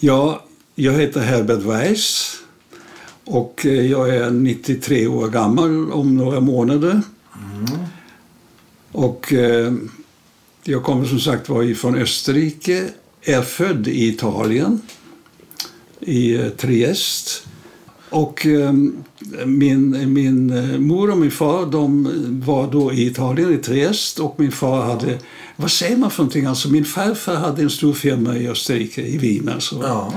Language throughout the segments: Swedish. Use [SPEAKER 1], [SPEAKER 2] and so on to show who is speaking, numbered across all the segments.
[SPEAKER 1] Ja, jag heter Herbert Weiss och eh, jag är 93 år gammal om några månader. Och eh, jag kommer som sagt var ifrån Österrike, är född i Italien, i eh, Triest. Och eh, min, min eh, mor och min far de var då i Italien, i Triest. Och min far hade, vad säger man för någonting? Alltså, min farfar hade en stor firma i Österrike, i Wien. Alltså.
[SPEAKER 2] Ja.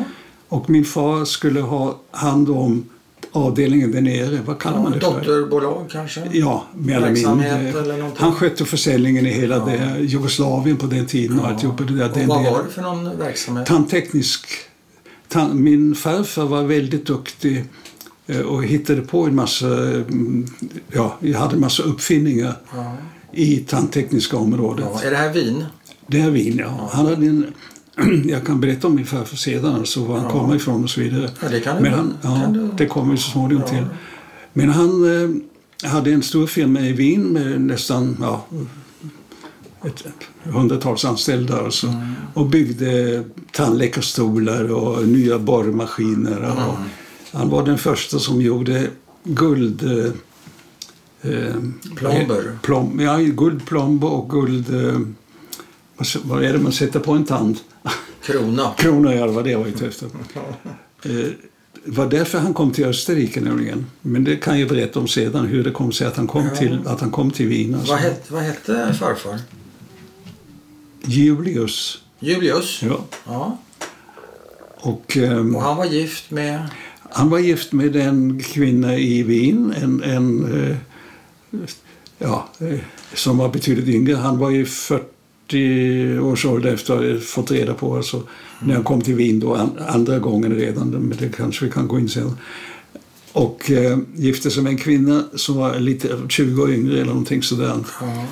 [SPEAKER 1] Och min far skulle ha hand om avdelningen där nere. Vad kallar man det för?
[SPEAKER 2] Dotterbolag kanske?
[SPEAKER 1] Ja, mer eller
[SPEAKER 2] Verksamhet
[SPEAKER 1] mindre.
[SPEAKER 2] eller någonting.
[SPEAKER 1] Han skötte försäljningen i hela det, Jugoslavien på den tiden och alltihopa. Det där,
[SPEAKER 2] Och
[SPEAKER 1] det
[SPEAKER 2] vad
[SPEAKER 1] det-
[SPEAKER 2] var det för någon verksamhet?
[SPEAKER 1] Tandteknisk. Tan- min farfar var väldigt duktig eh, och hittade på en massa, mm, ja, jag hade en massa uppfinningar
[SPEAKER 2] Ja.
[SPEAKER 1] i tandtekniska området.
[SPEAKER 2] Ja, är det här vin?
[SPEAKER 1] Det är Wien, ja. Han hade en, jag kan berätta om min farfar sedan, alltså var han kommer ifrån och så vidare.
[SPEAKER 2] Ja, det kan du
[SPEAKER 1] Men
[SPEAKER 2] väl.
[SPEAKER 1] han, ja,
[SPEAKER 2] Kan du-
[SPEAKER 1] Det kommer vi så småningom till. Men han eh, hade en stor firma i Wien med nästan ja, ett hundratals anställda alltså,
[SPEAKER 2] Mm.
[SPEAKER 1] och byggde tandläkarstolar och nya borrmaskiner. Och,
[SPEAKER 2] Mm.
[SPEAKER 1] Han var den första som gjorde guld... Eh, eh,
[SPEAKER 2] Plomber.
[SPEAKER 1] Plom, ja, guldplomber och guld... Eh, vad s- vad är det man sätter på en tand?
[SPEAKER 2] Krona?
[SPEAKER 1] Kronor, ja, det var det jag var ute efter. Eh, Det var därför han kom till Österrike nämligen. Men det kan jag berätta om sedan, hur det kom sig att han kom till, att han kom till Wien. Alltså.
[SPEAKER 2] Vad hette, vad hette farfar?
[SPEAKER 1] Julius.
[SPEAKER 2] Julius?
[SPEAKER 1] Ja.
[SPEAKER 2] Ja.
[SPEAKER 1] Och, ehm,
[SPEAKER 2] Och han var gift med?
[SPEAKER 1] han var gift med en kvinna i Wien, en, en, eh, ja, eh, som var betydligt yngre. Han var ju 40 års ålder efter att ha fått reda på alltså, när han kom till Wien då, an, andra gången redan, men det kanske vi kan gå in sen. Och eh, gifte sig med en kvinna som var lite 20 år yngre eller någonting sådär,
[SPEAKER 2] Ja.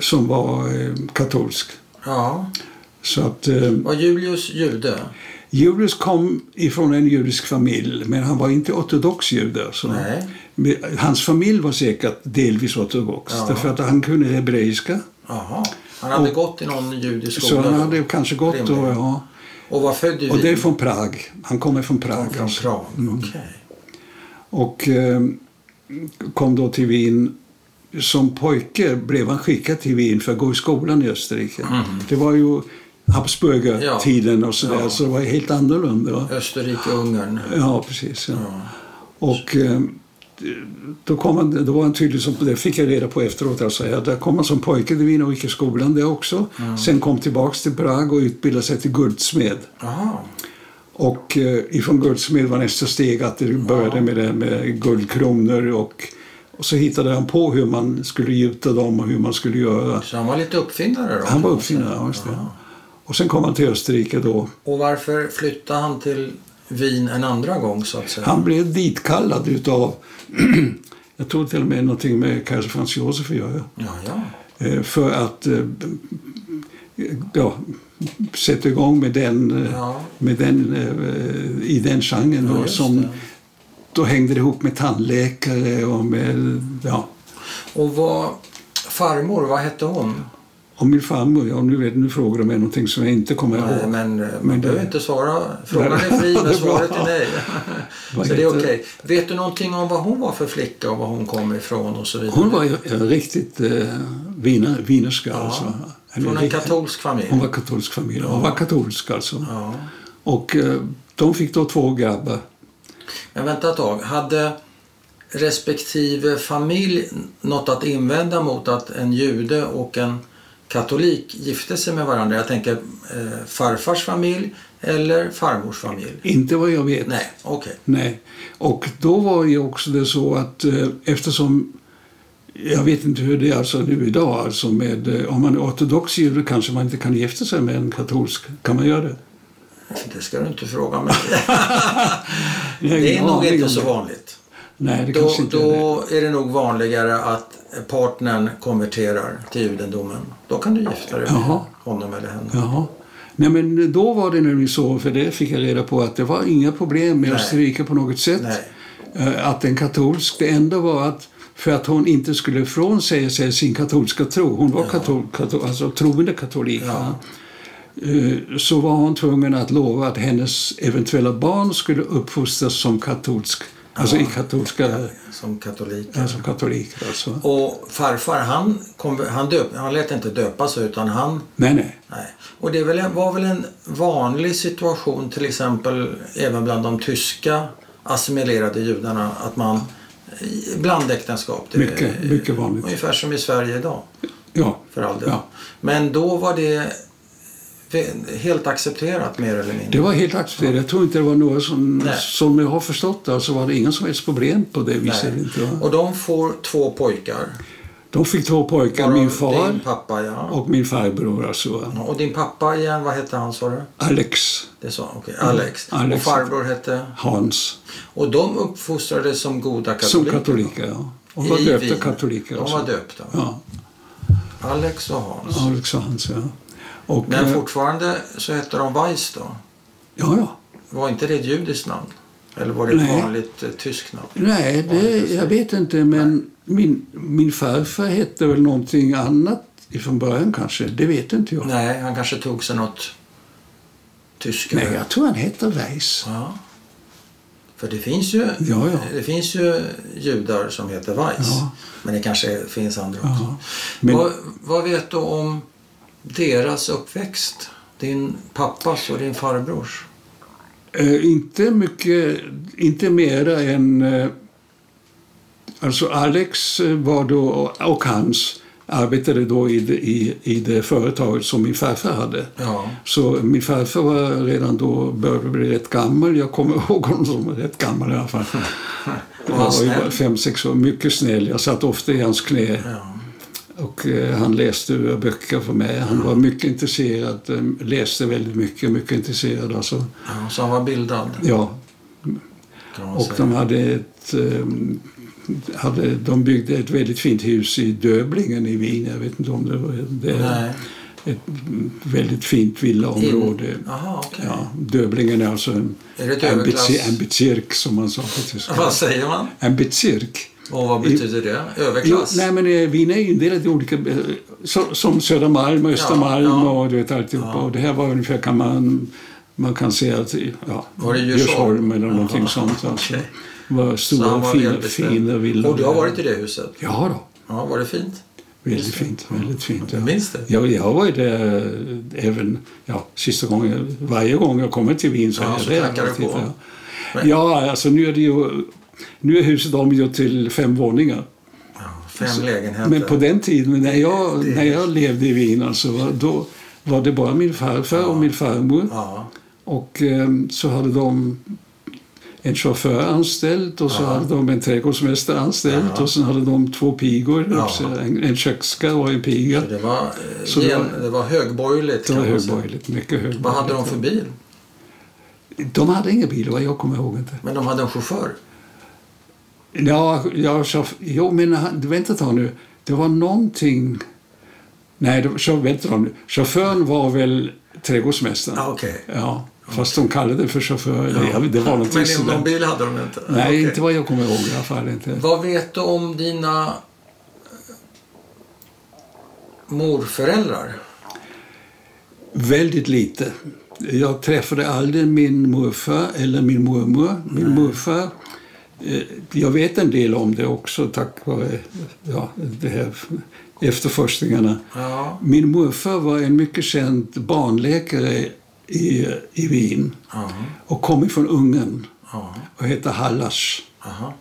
[SPEAKER 1] som var eh, katolsk.
[SPEAKER 2] ja.
[SPEAKER 1] Så att, eh,
[SPEAKER 2] Var Julius jude?
[SPEAKER 1] Julius kom ifrån en judisk familj, men han var inte ortodox jude. Så.
[SPEAKER 2] Nej.
[SPEAKER 1] Men Hans familj var säkert delvis ortodox,
[SPEAKER 2] Ja.
[SPEAKER 1] därför att han kunde hebreiska.
[SPEAKER 2] Jaha. Han hade
[SPEAKER 1] Och-
[SPEAKER 2] gått i någon judisk
[SPEAKER 1] Så
[SPEAKER 2] skola
[SPEAKER 1] han
[SPEAKER 2] då?
[SPEAKER 1] hade kanske gått då,
[SPEAKER 2] Rimligen.
[SPEAKER 1] ja.
[SPEAKER 2] Och var född i
[SPEAKER 1] Och det är
[SPEAKER 2] Wien?
[SPEAKER 1] från Prag. Han kommer från Prag.
[SPEAKER 2] Från
[SPEAKER 1] alltså.
[SPEAKER 2] Prag? Okej.
[SPEAKER 1] Mm. Och eh, kom då till Wien. Som pojke blev han skickad till Wien för att gå i skolan i Österrike. Det var ju Habsburgertiden och sådär,
[SPEAKER 2] Mhm. Ja.
[SPEAKER 1] så det var helt annorlunda.
[SPEAKER 2] Österrike, Ungern?
[SPEAKER 1] Ja, precis. Ja. Och eh, då, kom han, då var han tydlig, som, det fick jag reda på efteråt, alltså, ja, där kom han som pojke till Wien och gick i skolan där också. Sen kom tillbaks till Prag och utbildade sig till guldsmed.
[SPEAKER 2] Jaha.
[SPEAKER 1] Och eh, ifrån guldsmed var nästa steg att det började med, det, här med guldkronor och, och så hittade han på hur man skulle gjuta dem och hur man skulle göra.
[SPEAKER 2] Så han var lite uppfinnare då?
[SPEAKER 1] Han var uppfinnare, ja, just det. Och sen kom han till Österrike då.
[SPEAKER 2] Och varför flyttade han till Wien en andra gång så att säga?
[SPEAKER 1] Han blev ditkallad utav, jag tror till och med någonting med kejsar Franz Josef att göra,
[SPEAKER 2] Ja, ja.
[SPEAKER 1] eh, för att eh, ja, sätta igång med den, eh,
[SPEAKER 2] Ja.
[SPEAKER 1] med den eh, i den genren då,
[SPEAKER 2] just
[SPEAKER 1] som
[SPEAKER 2] det.
[SPEAKER 1] då hängde det ihop med tandläkare och med, ja,
[SPEAKER 2] Och vad... Farmor, vad hette hon?
[SPEAKER 1] och min farmor, ja nu, vet, nu frågar de mig någonting som jag inte kommer
[SPEAKER 2] Nej,
[SPEAKER 1] ihåg.
[SPEAKER 2] men eh, man
[SPEAKER 1] Men det-
[SPEAKER 2] behöver inte svara. Frågan är
[SPEAKER 1] Nej.
[SPEAKER 2] fri,
[SPEAKER 1] Det
[SPEAKER 2] men
[SPEAKER 1] är bra.
[SPEAKER 2] svaret är nej.
[SPEAKER 1] Vad
[SPEAKER 2] så det är
[SPEAKER 1] heter-
[SPEAKER 2] okej. Vet du någonting om vad hon var för flicka och var hon kom ifrån och så vidare?
[SPEAKER 1] Hon var ju en riktigt eh, viner, vinerska alltså. Eller
[SPEAKER 2] Från en
[SPEAKER 1] rikt-
[SPEAKER 2] katolsk familj?
[SPEAKER 1] Hon var katolsk familj. Hon var katolsk alltså.
[SPEAKER 2] Ja.
[SPEAKER 1] Och eh, de fick då två grabbar.
[SPEAKER 2] Men vänta ett tag. Hade respektive familj något att invända mot att en jude och en katolik gifte sig med varandra? Jag tänker eh, farfars familj eller farmors familj?
[SPEAKER 1] Inte vad jag vet.
[SPEAKER 2] Nej, okej.
[SPEAKER 1] Nej. Och då var ju också det så att eh, eftersom jag vet inte hur det är alltså nu idag. Alltså med, eh, om man är ortodox jude kanske man inte kan gifta sig med en katolsk. Kan man göra det?
[SPEAKER 2] Det ska du inte fråga mig.
[SPEAKER 1] Jag har
[SPEAKER 2] Det är
[SPEAKER 1] ingen
[SPEAKER 2] nog
[SPEAKER 1] aning
[SPEAKER 2] inte
[SPEAKER 1] om
[SPEAKER 2] så
[SPEAKER 1] det.
[SPEAKER 2] vanligt.
[SPEAKER 1] Nej, det
[SPEAKER 2] Då,
[SPEAKER 1] kanske inte är det.
[SPEAKER 2] då är det nog vanligare att partnern konverterar till judendomen. Då kan du gifta dig med
[SPEAKER 1] Jaha.
[SPEAKER 2] honom eller henne.
[SPEAKER 1] Jaha. Nej, men då var det nämligen så, för det fick jag reda på, att det var inga problem med
[SPEAKER 2] Nej.
[SPEAKER 1] Österrike på något sätt.
[SPEAKER 2] Nej.
[SPEAKER 1] Eh, Att en katolsk, det enda var att för att hon inte skulle ifrån sig, sig sin katolska tro, hon var katol, katol, alltså troende katolik,
[SPEAKER 2] Ja.
[SPEAKER 1] va? eh, så var hon tvungen att lova att hennes eventuella barn skulle uppfostras som katolsk, alltså i katolska,
[SPEAKER 2] som katoliker.
[SPEAKER 1] ja, som katoliker alltså.
[SPEAKER 2] Och farfar han, kom, han, döp, han lät inte döpa sig utan han
[SPEAKER 1] Nej, nej.
[SPEAKER 2] Nej. Och det är väl, en- var väl en vanlig situation till exempel även bland de tyska assimilerade judarna att man i- blandäktenskap. Det är-
[SPEAKER 1] Mycket, mycket vanligt.
[SPEAKER 2] Ungefär som i Sverige idag
[SPEAKER 1] Ja,
[SPEAKER 2] för all del.
[SPEAKER 1] Ja.
[SPEAKER 2] Men då var det ve- helt accepterat mer eller mindre.
[SPEAKER 1] det var helt accepterat. Jag tror inte det var några som,
[SPEAKER 2] Nej.
[SPEAKER 1] som jag har förstått det, så var det inga som helst problem på det viset.
[SPEAKER 2] Nej.
[SPEAKER 1] Inte, va?
[SPEAKER 2] Och de får två pojkar.
[SPEAKER 1] De fick två pojkar,
[SPEAKER 2] Varav
[SPEAKER 1] min far
[SPEAKER 2] Din pappa ja.
[SPEAKER 1] och min farbror alltså. va.
[SPEAKER 2] Och din pappa igen, vad hette han sa du?
[SPEAKER 1] Alex,
[SPEAKER 2] Det sa okej, Alex.
[SPEAKER 1] Alex.
[SPEAKER 2] Och farbror hette?
[SPEAKER 1] Hans,
[SPEAKER 2] Och de uppfostrades som goda
[SPEAKER 1] som
[SPEAKER 2] katoliker.
[SPEAKER 1] katoliker. Ja. Och var
[SPEAKER 2] I
[SPEAKER 1] döpta
[SPEAKER 2] Wien.
[SPEAKER 1] katoliker.
[SPEAKER 2] De
[SPEAKER 1] alltså.
[SPEAKER 2] var döpta.
[SPEAKER 1] Ja,
[SPEAKER 2] Alex och Hans.
[SPEAKER 1] Alex och Hans, ja. Och,
[SPEAKER 2] Men
[SPEAKER 1] eh,
[SPEAKER 2] fortfarande så hette de Weiss då.
[SPEAKER 1] ja, ja.
[SPEAKER 2] Var inte det ett judiskt namn? Eller var det ett
[SPEAKER 1] Nej.
[SPEAKER 2] vanligt eh, tyskt namn?
[SPEAKER 1] Nej, det, jag vet inte, men min, min farfar hette väl någonting annat från början kanske. Det vet inte jag.
[SPEAKER 2] Nej, han kanske tog sig något tyska.
[SPEAKER 1] Nej, jag tror han hette Weiss.
[SPEAKER 2] Ja. För det finns, ju,
[SPEAKER 1] Ja, ja.
[SPEAKER 2] det finns ju judar som heter Weiss.
[SPEAKER 1] Ja.
[SPEAKER 2] Men det kanske finns andra också.
[SPEAKER 1] Ja. Men-
[SPEAKER 2] Vad, vad vet du om deras uppväxt? Din pappas och din farbrors?
[SPEAKER 1] Eh, inte mycket, inte mera än... Eh, alltså Alex eh, var då, och hans, arbetade då i det, i, i det företaget som min farfar hade.
[SPEAKER 2] Ja.
[SPEAKER 1] Så min farfar var redan då, började bli rätt gammal. Jag kommer ihåg honom som rätt gammal i alla fall.
[SPEAKER 2] Var
[SPEAKER 1] Jag
[SPEAKER 2] han
[SPEAKER 1] var ju
[SPEAKER 2] snäll?
[SPEAKER 1] bara fem, sex år, mycket snäll. Jag satt ofta i hans knä.
[SPEAKER 2] Ja.
[SPEAKER 1] Och eh, han läste ur böcker för mig. Han var mycket intresserad, eh, läste väldigt mycket, mycket intresserad alltså.
[SPEAKER 2] Ja, så han var bildad?
[SPEAKER 1] Ja,
[SPEAKER 2] Kan man
[SPEAKER 1] och
[SPEAKER 2] säga.
[SPEAKER 1] de hade ett... eh, Hade, de byggde ett väldigt fint hus i Döblingen i Wien. Jag vet inte om det var det. är
[SPEAKER 2] Nej.
[SPEAKER 1] Ett väldigt fint villaområde.
[SPEAKER 2] Jaha, okej.
[SPEAKER 1] Ja, Döblingen är alltså en,
[SPEAKER 2] Är det ett
[SPEAKER 1] en,
[SPEAKER 2] överklass-
[SPEAKER 1] bezi- en bezirk som man sa på tyska.
[SPEAKER 2] Vad säger man?
[SPEAKER 1] En bezirk.
[SPEAKER 2] Och vad betyder det?
[SPEAKER 1] Jo,
[SPEAKER 2] Överklass?
[SPEAKER 1] nej men eh, Wien är ju indelat i olika, eh, så, som Södermalm och Östermalm
[SPEAKER 2] ja.
[SPEAKER 1] och du vet alltihopa. Och det här var ungefär, kan man, man kan säga att, ja,
[SPEAKER 2] Var det Djursholm?
[SPEAKER 1] Djursholm eller någonting sånt. Alltså.
[SPEAKER 2] okej.
[SPEAKER 1] var
[SPEAKER 2] Så han
[SPEAKER 1] stora
[SPEAKER 2] var
[SPEAKER 1] fina,
[SPEAKER 2] välbeställd.
[SPEAKER 1] fina villor.
[SPEAKER 2] Och du har varit i det huset?
[SPEAKER 1] Ja då,
[SPEAKER 2] Ja, var det fint?
[SPEAKER 1] väldigt fint. Väldigt fint ja.
[SPEAKER 2] Jag minns det.
[SPEAKER 1] Ja, jag var ju där eh, även ja, sista gången. Varje gång jag kommer till Wien så
[SPEAKER 2] Ja,
[SPEAKER 1] är
[SPEAKER 2] så
[SPEAKER 1] jag där.
[SPEAKER 2] knackar det
[SPEAKER 1] alltid,
[SPEAKER 2] på.
[SPEAKER 1] ja.
[SPEAKER 2] Men-
[SPEAKER 1] Ja, alltså nu är det ju... Nu är huset omgjort till fem våningar.
[SPEAKER 2] Fem lägenheter.
[SPEAKER 1] Alltså, Men på den tiden när jag, när jag levde i Wien alltså, va, då var det bara min farfar och min farmor.
[SPEAKER 2] Ja,
[SPEAKER 1] Och ehm, så hade de en chaufför anställd och så hade de en trädgårdsmästare anställd och sen hade de två pigor,
[SPEAKER 2] Ja.
[SPEAKER 1] också, en, en kökska och en piga.
[SPEAKER 2] så det var, eh,
[SPEAKER 1] Så det
[SPEAKER 2] gen,
[SPEAKER 1] var-
[SPEAKER 2] det var högborgerligt.
[SPEAKER 1] Det var
[SPEAKER 2] kan man säga.
[SPEAKER 1] högborgerligt, mycket högborgerligt.
[SPEAKER 2] Vad hade de för bil?
[SPEAKER 1] De hade ingen bil, vad jag kommer ihåg inte.
[SPEAKER 2] Men de hade en chaufför.
[SPEAKER 1] Ja, jag sa, jo men han, vänta ett tag nu. Det var någonting... Nej, det, var- så, vänta ett tag nu. Chauffören var väl trädgårdsmästaren?
[SPEAKER 2] Ah, Okej.
[SPEAKER 1] Ja, fast de kallade det för chaufför. eller jag- Det var någonting
[SPEAKER 2] Men någon
[SPEAKER 1] sådär.
[SPEAKER 2] bil hade de inte?
[SPEAKER 1] Nej,
[SPEAKER 2] Okej.
[SPEAKER 1] inte vad jag kommer ihåg i alla fall. Inte.
[SPEAKER 2] Vad vet du om dina eh, morföräldrar?
[SPEAKER 1] Väldigt lite. Jag träffade aldrig min morfar eller min mormor. Min morfar, eh, jag vet en del om det också tack vare ja, det här efterforskningarna.
[SPEAKER 2] Ja.
[SPEAKER 1] Min morfar var en mycket känd barnläkare i, i Wien
[SPEAKER 2] Ja.
[SPEAKER 1] och kom ifrån Ungern
[SPEAKER 2] Ja.
[SPEAKER 1] och hette Hallas.
[SPEAKER 2] Aha.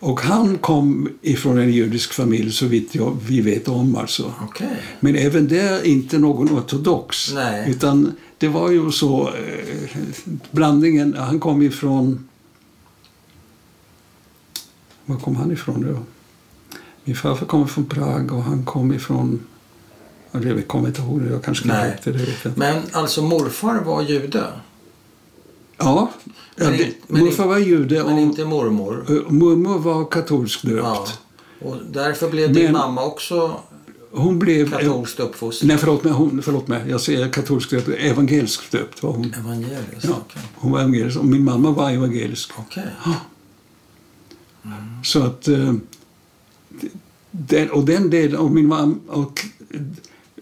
[SPEAKER 1] Och han kom ifrån en judisk familj så vitt jag, vi vet om alltså.
[SPEAKER 2] Okej.
[SPEAKER 1] Men även där inte någon ortodox.
[SPEAKER 2] Nej.
[SPEAKER 1] Utan det var ju så, eh, blandningen, han kom ifrån, var kom han ifrån då? Min farfar kom ifrån Prag och han kom ifrån, ja, det kommer jag inte ihåg nu, jag kanske kan
[SPEAKER 2] Nej.
[SPEAKER 1] det, det vet jag inte.
[SPEAKER 2] Men alltså morfar var jude,
[SPEAKER 1] Ja, ja
[SPEAKER 2] Men
[SPEAKER 1] det,
[SPEAKER 2] in- men in-
[SPEAKER 1] morfar var jude
[SPEAKER 2] men
[SPEAKER 1] och
[SPEAKER 2] inte mormor.
[SPEAKER 1] eh, mormor var katolsk döpt.
[SPEAKER 2] Ja. Och därför blev din
[SPEAKER 1] Men-
[SPEAKER 2] mamma också
[SPEAKER 1] Hon blev...
[SPEAKER 2] katolskt uppfostrad.
[SPEAKER 1] Nej, förlåt mig, hon, förlåt mig, jag säger katolsk döpt, evangelisk döpt var hon.
[SPEAKER 2] Evangelisk.
[SPEAKER 1] Ja,
[SPEAKER 2] Okej.
[SPEAKER 1] hon var evangelisk och min mamma var evangelisk. Ah.
[SPEAKER 2] Okej.
[SPEAKER 1] Så att, eh, den, och den delen, och min mamma, och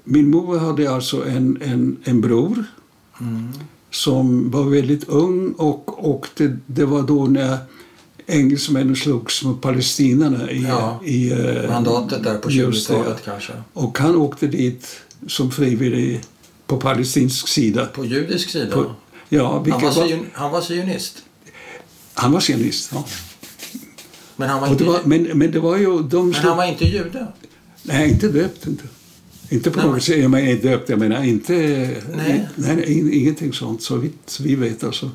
[SPEAKER 1] Min mor hade alltså en, en, en bror
[SPEAKER 2] Mm.
[SPEAKER 1] som var väldigt ung och, och det, det var då när engelsmännen slogs mot palestinarna i,
[SPEAKER 2] Ja.
[SPEAKER 1] i eh,
[SPEAKER 2] Mandatet där på
[SPEAKER 1] just det, ja.
[SPEAKER 2] 20-talet kanske.
[SPEAKER 1] Och han åkte dit som frivillig på palestinsk sida.
[SPEAKER 2] På judisk sida.
[SPEAKER 1] På- Ja,
[SPEAKER 2] han,
[SPEAKER 1] vilket
[SPEAKER 2] var
[SPEAKER 1] var,
[SPEAKER 2] sion, han var sionist.
[SPEAKER 1] han var sionist. Ja.
[SPEAKER 2] Men han var,
[SPEAKER 1] Och det
[SPEAKER 2] inte,
[SPEAKER 1] var, men, men det var ju... De
[SPEAKER 2] men
[SPEAKER 1] slog,
[SPEAKER 2] han var inte jude.
[SPEAKER 1] Nej, inte döpt. Inte, inte på
[SPEAKER 2] Nej, men-
[SPEAKER 1] något sätt. Jag menar inte döpt, jag menar inte...
[SPEAKER 2] Nej.
[SPEAKER 1] nej, nej, in- ingenting sånt, så vitt vi vet alltså.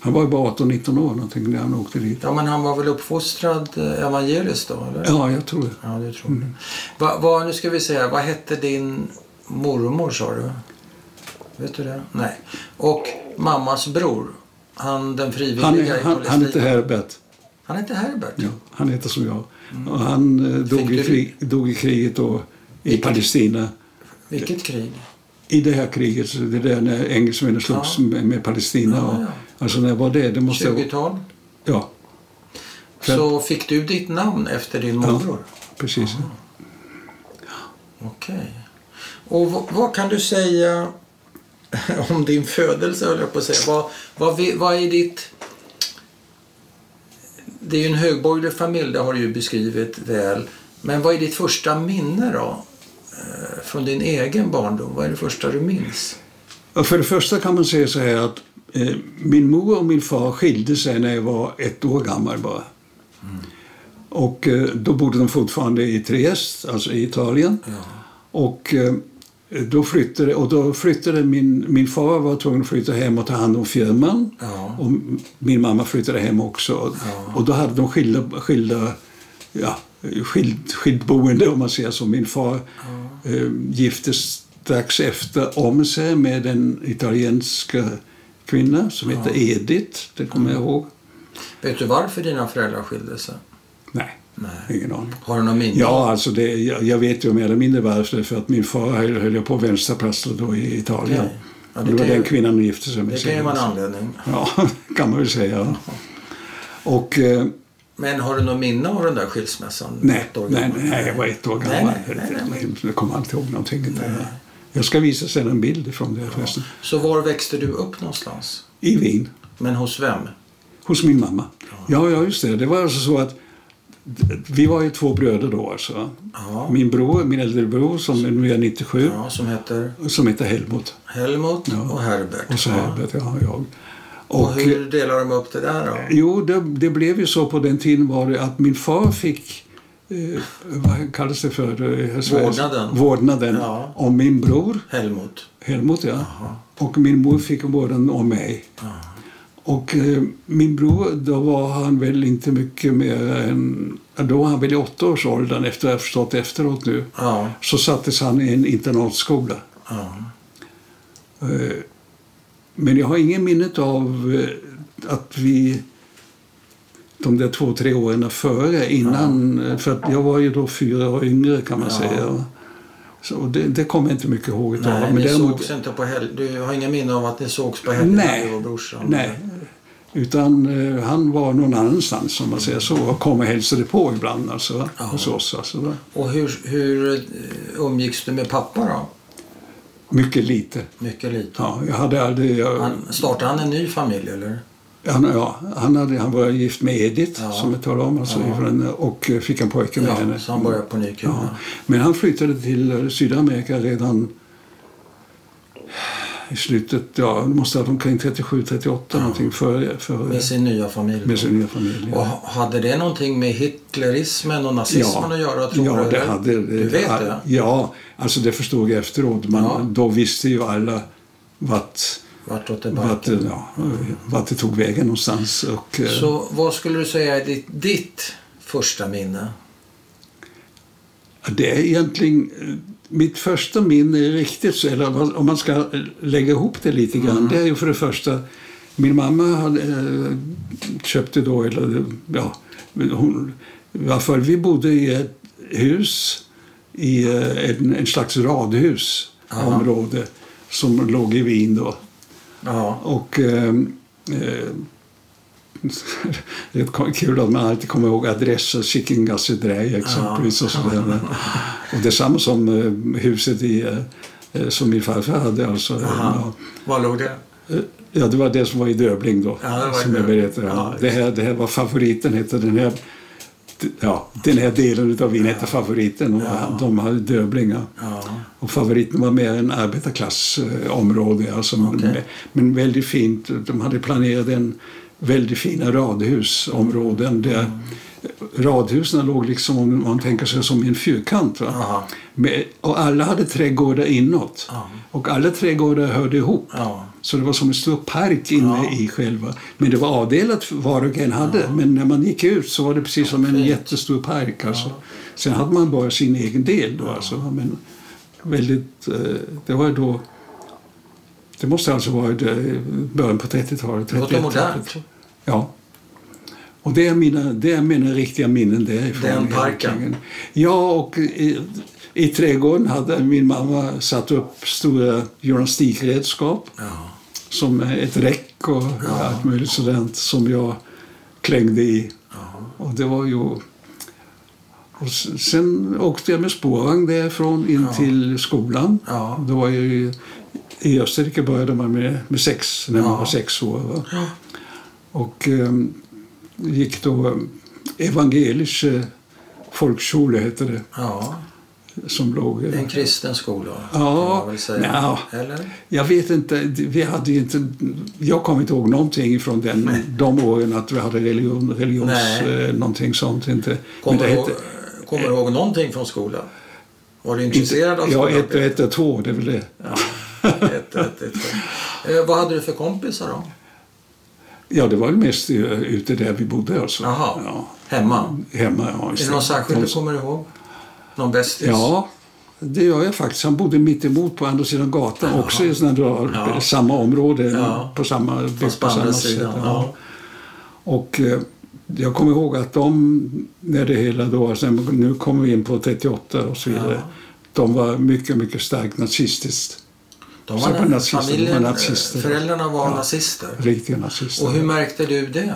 [SPEAKER 1] Han var ju bara 18-19 år någonting när han åkte dit.
[SPEAKER 2] Ja, men han var väl uppfostrad eh, evangeliskt då? Eller?
[SPEAKER 1] Ja, jag tror det.
[SPEAKER 2] Ja, det tror jag. Va, va, nu ska vi se här. Vad hette din mormor sa du? Vet du det? Nej. Och mammas bror, han den frivilliga
[SPEAKER 1] Han,
[SPEAKER 2] i
[SPEAKER 1] är- han,
[SPEAKER 2] Palestina.
[SPEAKER 1] han heter Herbert.
[SPEAKER 2] han heter Herbert.
[SPEAKER 1] Ja, han heter som jag. Och han eh, dog
[SPEAKER 2] Mm. Fick
[SPEAKER 1] i,
[SPEAKER 2] du-
[SPEAKER 1] krig, dog i kriget då, i Palestina.
[SPEAKER 2] Vilket krig?
[SPEAKER 1] I det här kriget, så det där när engelsmännen slogs
[SPEAKER 2] Ja.
[SPEAKER 1] med, med Palestina.
[SPEAKER 2] Ja,
[SPEAKER 1] och,
[SPEAKER 2] ja.
[SPEAKER 1] Alltså när var det? Det måste vara...
[SPEAKER 2] 20-tal.
[SPEAKER 1] Ja, Fem-
[SPEAKER 2] Så fick du ditt namn efter din
[SPEAKER 1] Ja.
[SPEAKER 2] morbror?
[SPEAKER 1] precis.
[SPEAKER 2] Okej. Och v- vad kan du säga om din födelse, höll jag på att säga. Vad, vad, vi- vad är ditt... Det är ju en högborgerlig familj, det har du ju beskrivit väl. Men vad är ditt första minne då? Eh, Från din egen barndom, vad är det första du minns?
[SPEAKER 1] Och för det första kan man säga så här att eh, min mor och min far skilde sig när jag var ett år gammal bara. Och eh, då bodde de fortfarande i Triest, alltså i Italien. Och eh, då flyttade, och då flyttade min, min far var tvungen att flytta hem och ta hand om firman.
[SPEAKER 2] Ja.
[SPEAKER 1] Och m- min mamma flyttade hem också. Och,
[SPEAKER 2] Ja.
[SPEAKER 1] och då hade de skilda, skilda ja, skild, skild boende om man säger så. Min far eh, gifte strax efter om sig med en italiensk kvinna som hette Edith, det kommer jag ihåg.
[SPEAKER 2] Vet du varför dina föräldrar skilde sig?
[SPEAKER 1] Nej,
[SPEAKER 2] Nej.
[SPEAKER 1] ingen aning.
[SPEAKER 2] Har du någon minne?
[SPEAKER 1] Ja, alltså det, jag, jag vet ju mer eller mindre varför. För att min far höll, höll jag på att vänsterprassla då i Italien.
[SPEAKER 2] Okej. Ja, det
[SPEAKER 1] det, var
[SPEAKER 2] kan ju-
[SPEAKER 1] den kvinnan hon gifte sig med.
[SPEAKER 2] Det kan ju
[SPEAKER 1] sen.
[SPEAKER 2] vara en anledning.
[SPEAKER 1] Ja, kan man väl säga. Och, eh,
[SPEAKER 2] Men har du någon minne av den där skilsmässan?
[SPEAKER 1] nej,
[SPEAKER 2] Ett år
[SPEAKER 1] nej,
[SPEAKER 2] gammal?
[SPEAKER 1] nej, jag var ett år
[SPEAKER 2] Nej,
[SPEAKER 1] gammal.
[SPEAKER 2] nej, nej, nej.
[SPEAKER 1] Jag kommer inte ihåg någonting. eh, Jag ska visa sen en bild från det förresten.
[SPEAKER 2] Så var växte du upp någonstans?
[SPEAKER 1] I Wien.
[SPEAKER 2] Men hos vem?
[SPEAKER 1] Hos min mamma. Ja, ja just det. Det var alltså så att vi var ju två bröder då alltså.
[SPEAKER 2] Ja,
[SPEAKER 1] Min bror, min äldre bror som nu är 97,
[SPEAKER 2] ja som heter
[SPEAKER 1] som heter Helmut.
[SPEAKER 2] Helmut och Herbert.
[SPEAKER 1] Och så
[SPEAKER 2] Ja.
[SPEAKER 1] Herbert, ja, jag.
[SPEAKER 2] och hur delar de upp det där då?
[SPEAKER 1] Jo, det, det blev ju så på den tiden var det att min far fick eh, vad kallas det för? eh, Sveriges-
[SPEAKER 2] Vårdnaden.
[SPEAKER 1] Vårdnaden
[SPEAKER 2] Ja.
[SPEAKER 1] om min bror
[SPEAKER 2] Helmut.
[SPEAKER 1] Helmut, ja. Och min mor fick vården om mig. Och eh, min bror, då var han väl inte mycket mer än... Då var han väl i åttaårsåldern, efter jag förstått efteråt nu.
[SPEAKER 2] Ja,
[SPEAKER 1] Så sattes han i en internatskola.
[SPEAKER 2] ja.
[SPEAKER 1] Eh, Men jag har ingen minnet av eh, att vi de där två, tre åren före, innan, eh, för att jag var ju då fyra år yngre kan man
[SPEAKER 2] Ja.
[SPEAKER 1] säga. Så det, det kommer jag inte mycket ihåg utav.
[SPEAKER 2] Nej,
[SPEAKER 1] men
[SPEAKER 2] ni
[SPEAKER 1] däremot-
[SPEAKER 2] sågs inte på helg. Du har inga minne av att ni sågs på helgerna,
[SPEAKER 1] Nej.
[SPEAKER 2] du och brorsan?
[SPEAKER 1] Nej. Utan eh, han var någon annanstans om man säger så och kom och hälsade på ibland alltså, va?
[SPEAKER 2] Ja.
[SPEAKER 1] hos oss. Alltså, va?
[SPEAKER 2] Och hur, hur eh, umgicks du med pappa då?
[SPEAKER 1] Mycket lite.
[SPEAKER 2] Mycket lite.
[SPEAKER 1] Ja, jag hade aldrig... Jag, han,
[SPEAKER 2] Han, startade han en ny familj eller?
[SPEAKER 1] ja, han, hade, han var gift med Edith
[SPEAKER 2] Ja.
[SPEAKER 1] som jag talade om alltså, ifrån, och eh, fick en pojke med
[SPEAKER 2] Ja,
[SPEAKER 1] henne.
[SPEAKER 2] så han började på ny
[SPEAKER 1] Ja.
[SPEAKER 2] kula.
[SPEAKER 1] Men han flyttade till eh, Sydamerika redan i slutet, ja, det måste ha varit omkring 37-38 någonting före för,
[SPEAKER 2] Med sin nya familj.
[SPEAKER 1] med sin nya familj.
[SPEAKER 2] Och hade det någonting med hitlerismen och nazismen att göra? Tror
[SPEAKER 1] ja,
[SPEAKER 2] du,
[SPEAKER 1] det
[SPEAKER 2] eller?
[SPEAKER 1] hade
[SPEAKER 2] Du vet det?
[SPEAKER 1] Ja, alltså det förstod jag efteråt. Man,
[SPEAKER 2] Ja.
[SPEAKER 1] Då visste ju alla vart,
[SPEAKER 2] Vartåt det
[SPEAKER 1] vart,
[SPEAKER 2] barkar.
[SPEAKER 1] ja, vart det tog vägen någonstans. Och, eh,
[SPEAKER 2] Så vad skulle du säga är ditt, ditt första minne?
[SPEAKER 1] Det är egentligen eh, mitt första minne är riktigt, så- eller om man- om man ska eh, lägga ihop det lite grann, det är ju för det första min mamma hade, eh, köpte då, eller ja, hon, i alla fall, vi bodde i ett hus, i eh, en, en slags radhus,
[SPEAKER 2] Aha.
[SPEAKER 1] område, som låg i Wien då.
[SPEAKER 2] Ja,
[SPEAKER 1] ehm, Och eh, eh, det är kul att man alltid kommer ihåg adresser, Shikingasse Drei exempelvis. Och, sådär. och detsamma som eh, huset i, eh, som min farfar hade. Alltså,
[SPEAKER 2] Aha. Var låg det?
[SPEAKER 1] ja. Eh, ja, det var det som var i Döbling då,
[SPEAKER 2] Ja, det var i
[SPEAKER 1] som jag
[SPEAKER 2] Döbling.
[SPEAKER 1] berättade om.
[SPEAKER 2] Ja,
[SPEAKER 1] det, här, det här var favoriten, hette den här, ja, den här delen av Wien hette favoriten och de hade Döblingar.
[SPEAKER 2] Ja.
[SPEAKER 1] Och favoriten var mer en arbetarklassområde, alltså, men,
[SPEAKER 2] Okej.
[SPEAKER 1] men väldigt fint. De hade planerat en väldigt fina radhusområden där
[SPEAKER 2] Mm.
[SPEAKER 1] radhusen låg liksom, om man tänker sig, som i en fyrkant. Va?
[SPEAKER 2] Aha.
[SPEAKER 1] Med, och alla hade trädgårdar inåt
[SPEAKER 2] Ja.
[SPEAKER 1] och alla trädgårdar hörde ihop.
[SPEAKER 2] Ja.
[SPEAKER 1] Så det var som en stor park inne i själva. Men det var avdelat för var och en hade. Men när man gick ut så var det precis som en jättestor park. Alltså. Sen hade man bara sin egen del då. Alltså. Men väldigt, eh, det var då... Det måste alltså vara det, början på 30-talet.
[SPEAKER 2] Det låter
[SPEAKER 1] 31-talet.
[SPEAKER 2] modernt.
[SPEAKER 1] Ja. Och det är mina, det är mina riktiga minnen därifrån.
[SPEAKER 2] Den parken.
[SPEAKER 1] egentligen. Ja, och i, i trädgården hade min mamma satt upp stora gymnastikredskap
[SPEAKER 2] Ja.
[SPEAKER 1] som ett räck och allt möjligt sådant som jag klängde i. Och det var ju... Och s- sen åkte jag med spårvagn därifrån in till skolan.
[SPEAKER 2] Ja.
[SPEAKER 1] Då var jag ju, I Österrike började man med, med sex, när man
[SPEAKER 2] Ja.
[SPEAKER 1] var sex år. Va? Och ehm, gick då eh, evangelisk eh, folkskola, hette det,
[SPEAKER 2] ja.
[SPEAKER 1] som låg... eh,
[SPEAKER 2] En kristen skola,
[SPEAKER 1] Ja.
[SPEAKER 2] kan man väl säga.
[SPEAKER 1] Ja.
[SPEAKER 2] Eller?
[SPEAKER 1] Jag vet inte, vi hade ju inte, jag kommer inte ihåg någonting från den, de åren att vi hade religion, religions,
[SPEAKER 2] Nej.
[SPEAKER 1] eh, någonting sånt. Inte.
[SPEAKER 2] Kommer
[SPEAKER 1] det
[SPEAKER 2] du ihåg, kommer du ihåg någonting från skolan? Var du intresserad
[SPEAKER 1] ja,
[SPEAKER 2] av skolan?
[SPEAKER 1] ett och ett är två, det är väl det.
[SPEAKER 2] ett, ett, ett. Eh, vad hade du för kompisar då?
[SPEAKER 1] Ja, det var ju mest eh, ute där vi bodde alltså.
[SPEAKER 2] Jaha,
[SPEAKER 1] Ja,
[SPEAKER 2] hemma.
[SPEAKER 1] hemma, ja.
[SPEAKER 2] Är
[SPEAKER 1] just
[SPEAKER 2] det någon särskild
[SPEAKER 1] De-
[SPEAKER 2] du kommer ihåg? Någon bästis?
[SPEAKER 1] Ja, det gör jag faktiskt. Han bodde mitt emot på andra sidan gatan, också i sådana där,
[SPEAKER 2] Ja.
[SPEAKER 1] samma område,
[SPEAKER 2] Ja.
[SPEAKER 1] på samma,
[SPEAKER 2] Fast på
[SPEAKER 1] på samma
[SPEAKER 2] andra
[SPEAKER 1] sätt.
[SPEAKER 2] sidan.
[SPEAKER 1] Ja.
[SPEAKER 2] Ja.
[SPEAKER 1] Och eh, jag kommer ihåg att de, när det hela då, alltså, nu kommer vi in på 38 och så vidare, de var mycket, mycket starkt nazistiskt.
[SPEAKER 2] De
[SPEAKER 1] Så på
[SPEAKER 2] var
[SPEAKER 1] nazister,
[SPEAKER 2] familjen,
[SPEAKER 1] de var nazister.
[SPEAKER 2] eh, föräldrarna var
[SPEAKER 1] Ja.
[SPEAKER 2] nazister.
[SPEAKER 1] Riktiga nazister.
[SPEAKER 2] Och hur märkte du det?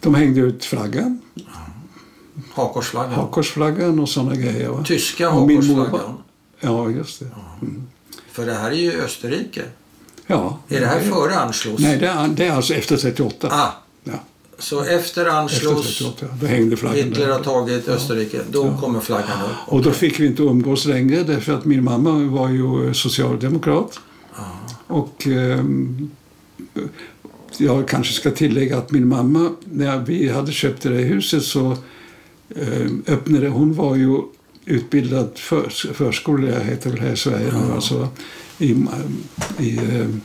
[SPEAKER 1] De hängde ut flaggan,
[SPEAKER 2] Hakkorsflaggan?
[SPEAKER 1] hakkorsflaggan och sådana grejer. Va?
[SPEAKER 2] Tyska
[SPEAKER 1] Och min mor var-
[SPEAKER 2] hakkorsflaggan?
[SPEAKER 1] Ja, just det.
[SPEAKER 2] För det här är ju Österrike.
[SPEAKER 1] Ja.
[SPEAKER 2] Är det här före Anschluss?
[SPEAKER 1] Nej, det är, det är alltså efter 38.
[SPEAKER 2] Ah,
[SPEAKER 1] Ja,
[SPEAKER 2] så efter
[SPEAKER 1] efter
[SPEAKER 2] Anschluss,
[SPEAKER 1] 38, då hängde flaggan
[SPEAKER 2] Hitler
[SPEAKER 1] där.
[SPEAKER 2] har tagit Österrike, då kommer flaggan upp.
[SPEAKER 1] Och då fick vi inte umgås längre därför att min mamma var ju eh, socialdemokrat. Och ehm, jag kanske ska tillägga att min mamma, när vi hade köpt det där huset så ehm, öppnade hon var ju utbildad förs förskollärare, heter det väl här i Sverige nu alltså, i, i ehm,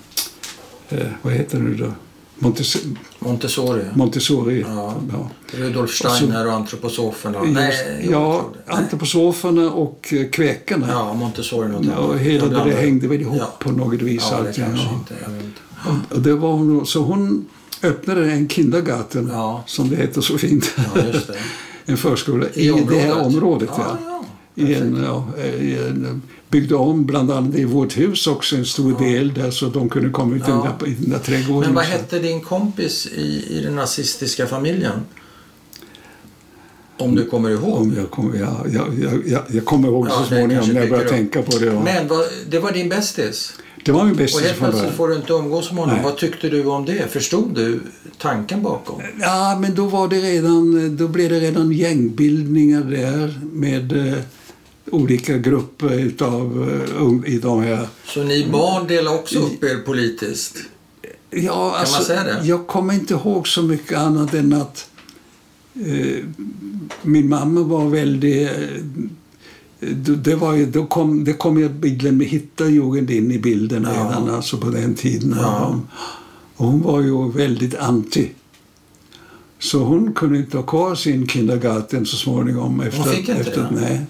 [SPEAKER 1] eh, vad heter det nu då? Montes
[SPEAKER 2] Montessori,
[SPEAKER 1] Montessori.
[SPEAKER 2] Ja.
[SPEAKER 1] Ja.
[SPEAKER 2] Rudolf Steiner och antroposoferna.
[SPEAKER 1] Just,
[SPEAKER 2] Nej, jo, jag
[SPEAKER 1] ja,
[SPEAKER 2] tror det.
[SPEAKER 1] antroposoferna och eh, kväkarna.
[SPEAKER 2] ja, Montessori något
[SPEAKER 1] Ja, och
[SPEAKER 2] annat.
[SPEAKER 1] hela
[SPEAKER 2] Jag
[SPEAKER 1] det där
[SPEAKER 2] blandar.
[SPEAKER 1] hängde väl ihop
[SPEAKER 2] Ja.
[SPEAKER 1] på något vis.
[SPEAKER 2] Ja, det
[SPEAKER 1] allting.
[SPEAKER 2] kanske
[SPEAKER 1] Ja.
[SPEAKER 2] inte. Jag vet inte.
[SPEAKER 1] Och det var hon, så hon öppnade en kindergarten,
[SPEAKER 2] Ja.
[SPEAKER 1] som det heter så fint,
[SPEAKER 2] Ja, just det.
[SPEAKER 1] en förskola i, det här området. Ja.
[SPEAKER 2] ja.
[SPEAKER 1] I en, ja, i en, byggde om bland annat i vårt hus också en stor del där så de kunde komma ut i den
[SPEAKER 2] Ja.
[SPEAKER 1] där, i den där trädgården.
[SPEAKER 2] Men vad
[SPEAKER 1] Så-
[SPEAKER 2] hette din kompis i, i den nazistiska familjen? Om du kommer ihåg.
[SPEAKER 1] Om jag, kommer, ja, jag, jag, jag, jag kommer ihåg
[SPEAKER 2] Ja,
[SPEAKER 1] så
[SPEAKER 2] det
[SPEAKER 1] småningom
[SPEAKER 2] kanske
[SPEAKER 1] när jag började
[SPEAKER 2] dyker upp.
[SPEAKER 1] tänka på det. Ja.
[SPEAKER 2] Men vad, det var din bästis.
[SPEAKER 1] det var min
[SPEAKER 2] Och
[SPEAKER 1] bästis
[SPEAKER 2] helt
[SPEAKER 1] från början.
[SPEAKER 2] plötsligt får du inte umgås med honom.
[SPEAKER 1] Nej.
[SPEAKER 2] Vad tyckte du om det? Förstod du tanken bakom?
[SPEAKER 1] Ja, men då var det redan, då blev det redan gängbildningar där med eh, olika grupper utav eh, ung- i de här.
[SPEAKER 2] Så
[SPEAKER 1] Mm.
[SPEAKER 2] ni barn delade också upp er politiskt?
[SPEAKER 1] Ja, kan
[SPEAKER 2] säga det?
[SPEAKER 1] Jag kommer inte ihåg så mycket annat än att eh, min mamma var väldigt... Eh, det, det var ju, då kom, det kom ju bilden med Hitlerjugend in i bilden redan alltså på den tiden.
[SPEAKER 2] Ja.
[SPEAKER 1] Och hon var ju väldigt anti. Så hon kunde inte ha kvar sin kindergarten så småningom. Efter,
[SPEAKER 2] fick inte
[SPEAKER 1] efter,
[SPEAKER 2] det?
[SPEAKER 1] Nej.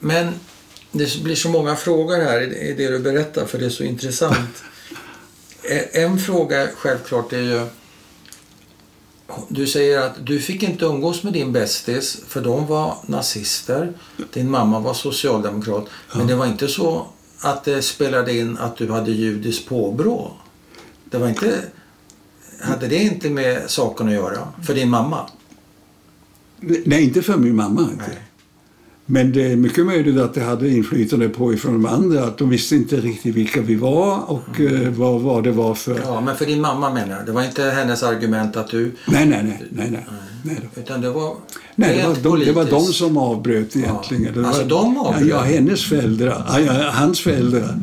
[SPEAKER 2] Men det blir så många frågor här i i det du berättar för det är så intressant. E- En fråga självklart är ju du säger att du fick inte umgås med din bästis för de var nazister. Din mamma var socialdemokrat. Men det var inte så att det spelade in att du hade judiskt påbrå. Det var inte hade det inte med saken att göra för din mamma?
[SPEAKER 1] Nej, inte för min mamma. Inte.
[SPEAKER 2] Nej.
[SPEAKER 1] Men det är mycket möjligt att det hade inflytande på ifrån de andra. Att de visste inte riktigt vilka vi var och eh, vad, vad det var för...
[SPEAKER 2] Mm. Ja, men för din mamma menar jag. Det var inte hennes argument att du...
[SPEAKER 1] Nej, nej, nej. nej, nej. nej då.
[SPEAKER 2] Utan det var
[SPEAKER 1] Nej, det, var
[SPEAKER 2] Mm. rent
[SPEAKER 1] de, det var de
[SPEAKER 2] politiskt.
[SPEAKER 1] som avbröt egentligen.
[SPEAKER 2] Ja.
[SPEAKER 1] Det var,
[SPEAKER 2] Alltså, de avbröt? Mm.
[SPEAKER 1] Ja, hennes föräldrar. Ja, ja, hans föräldrar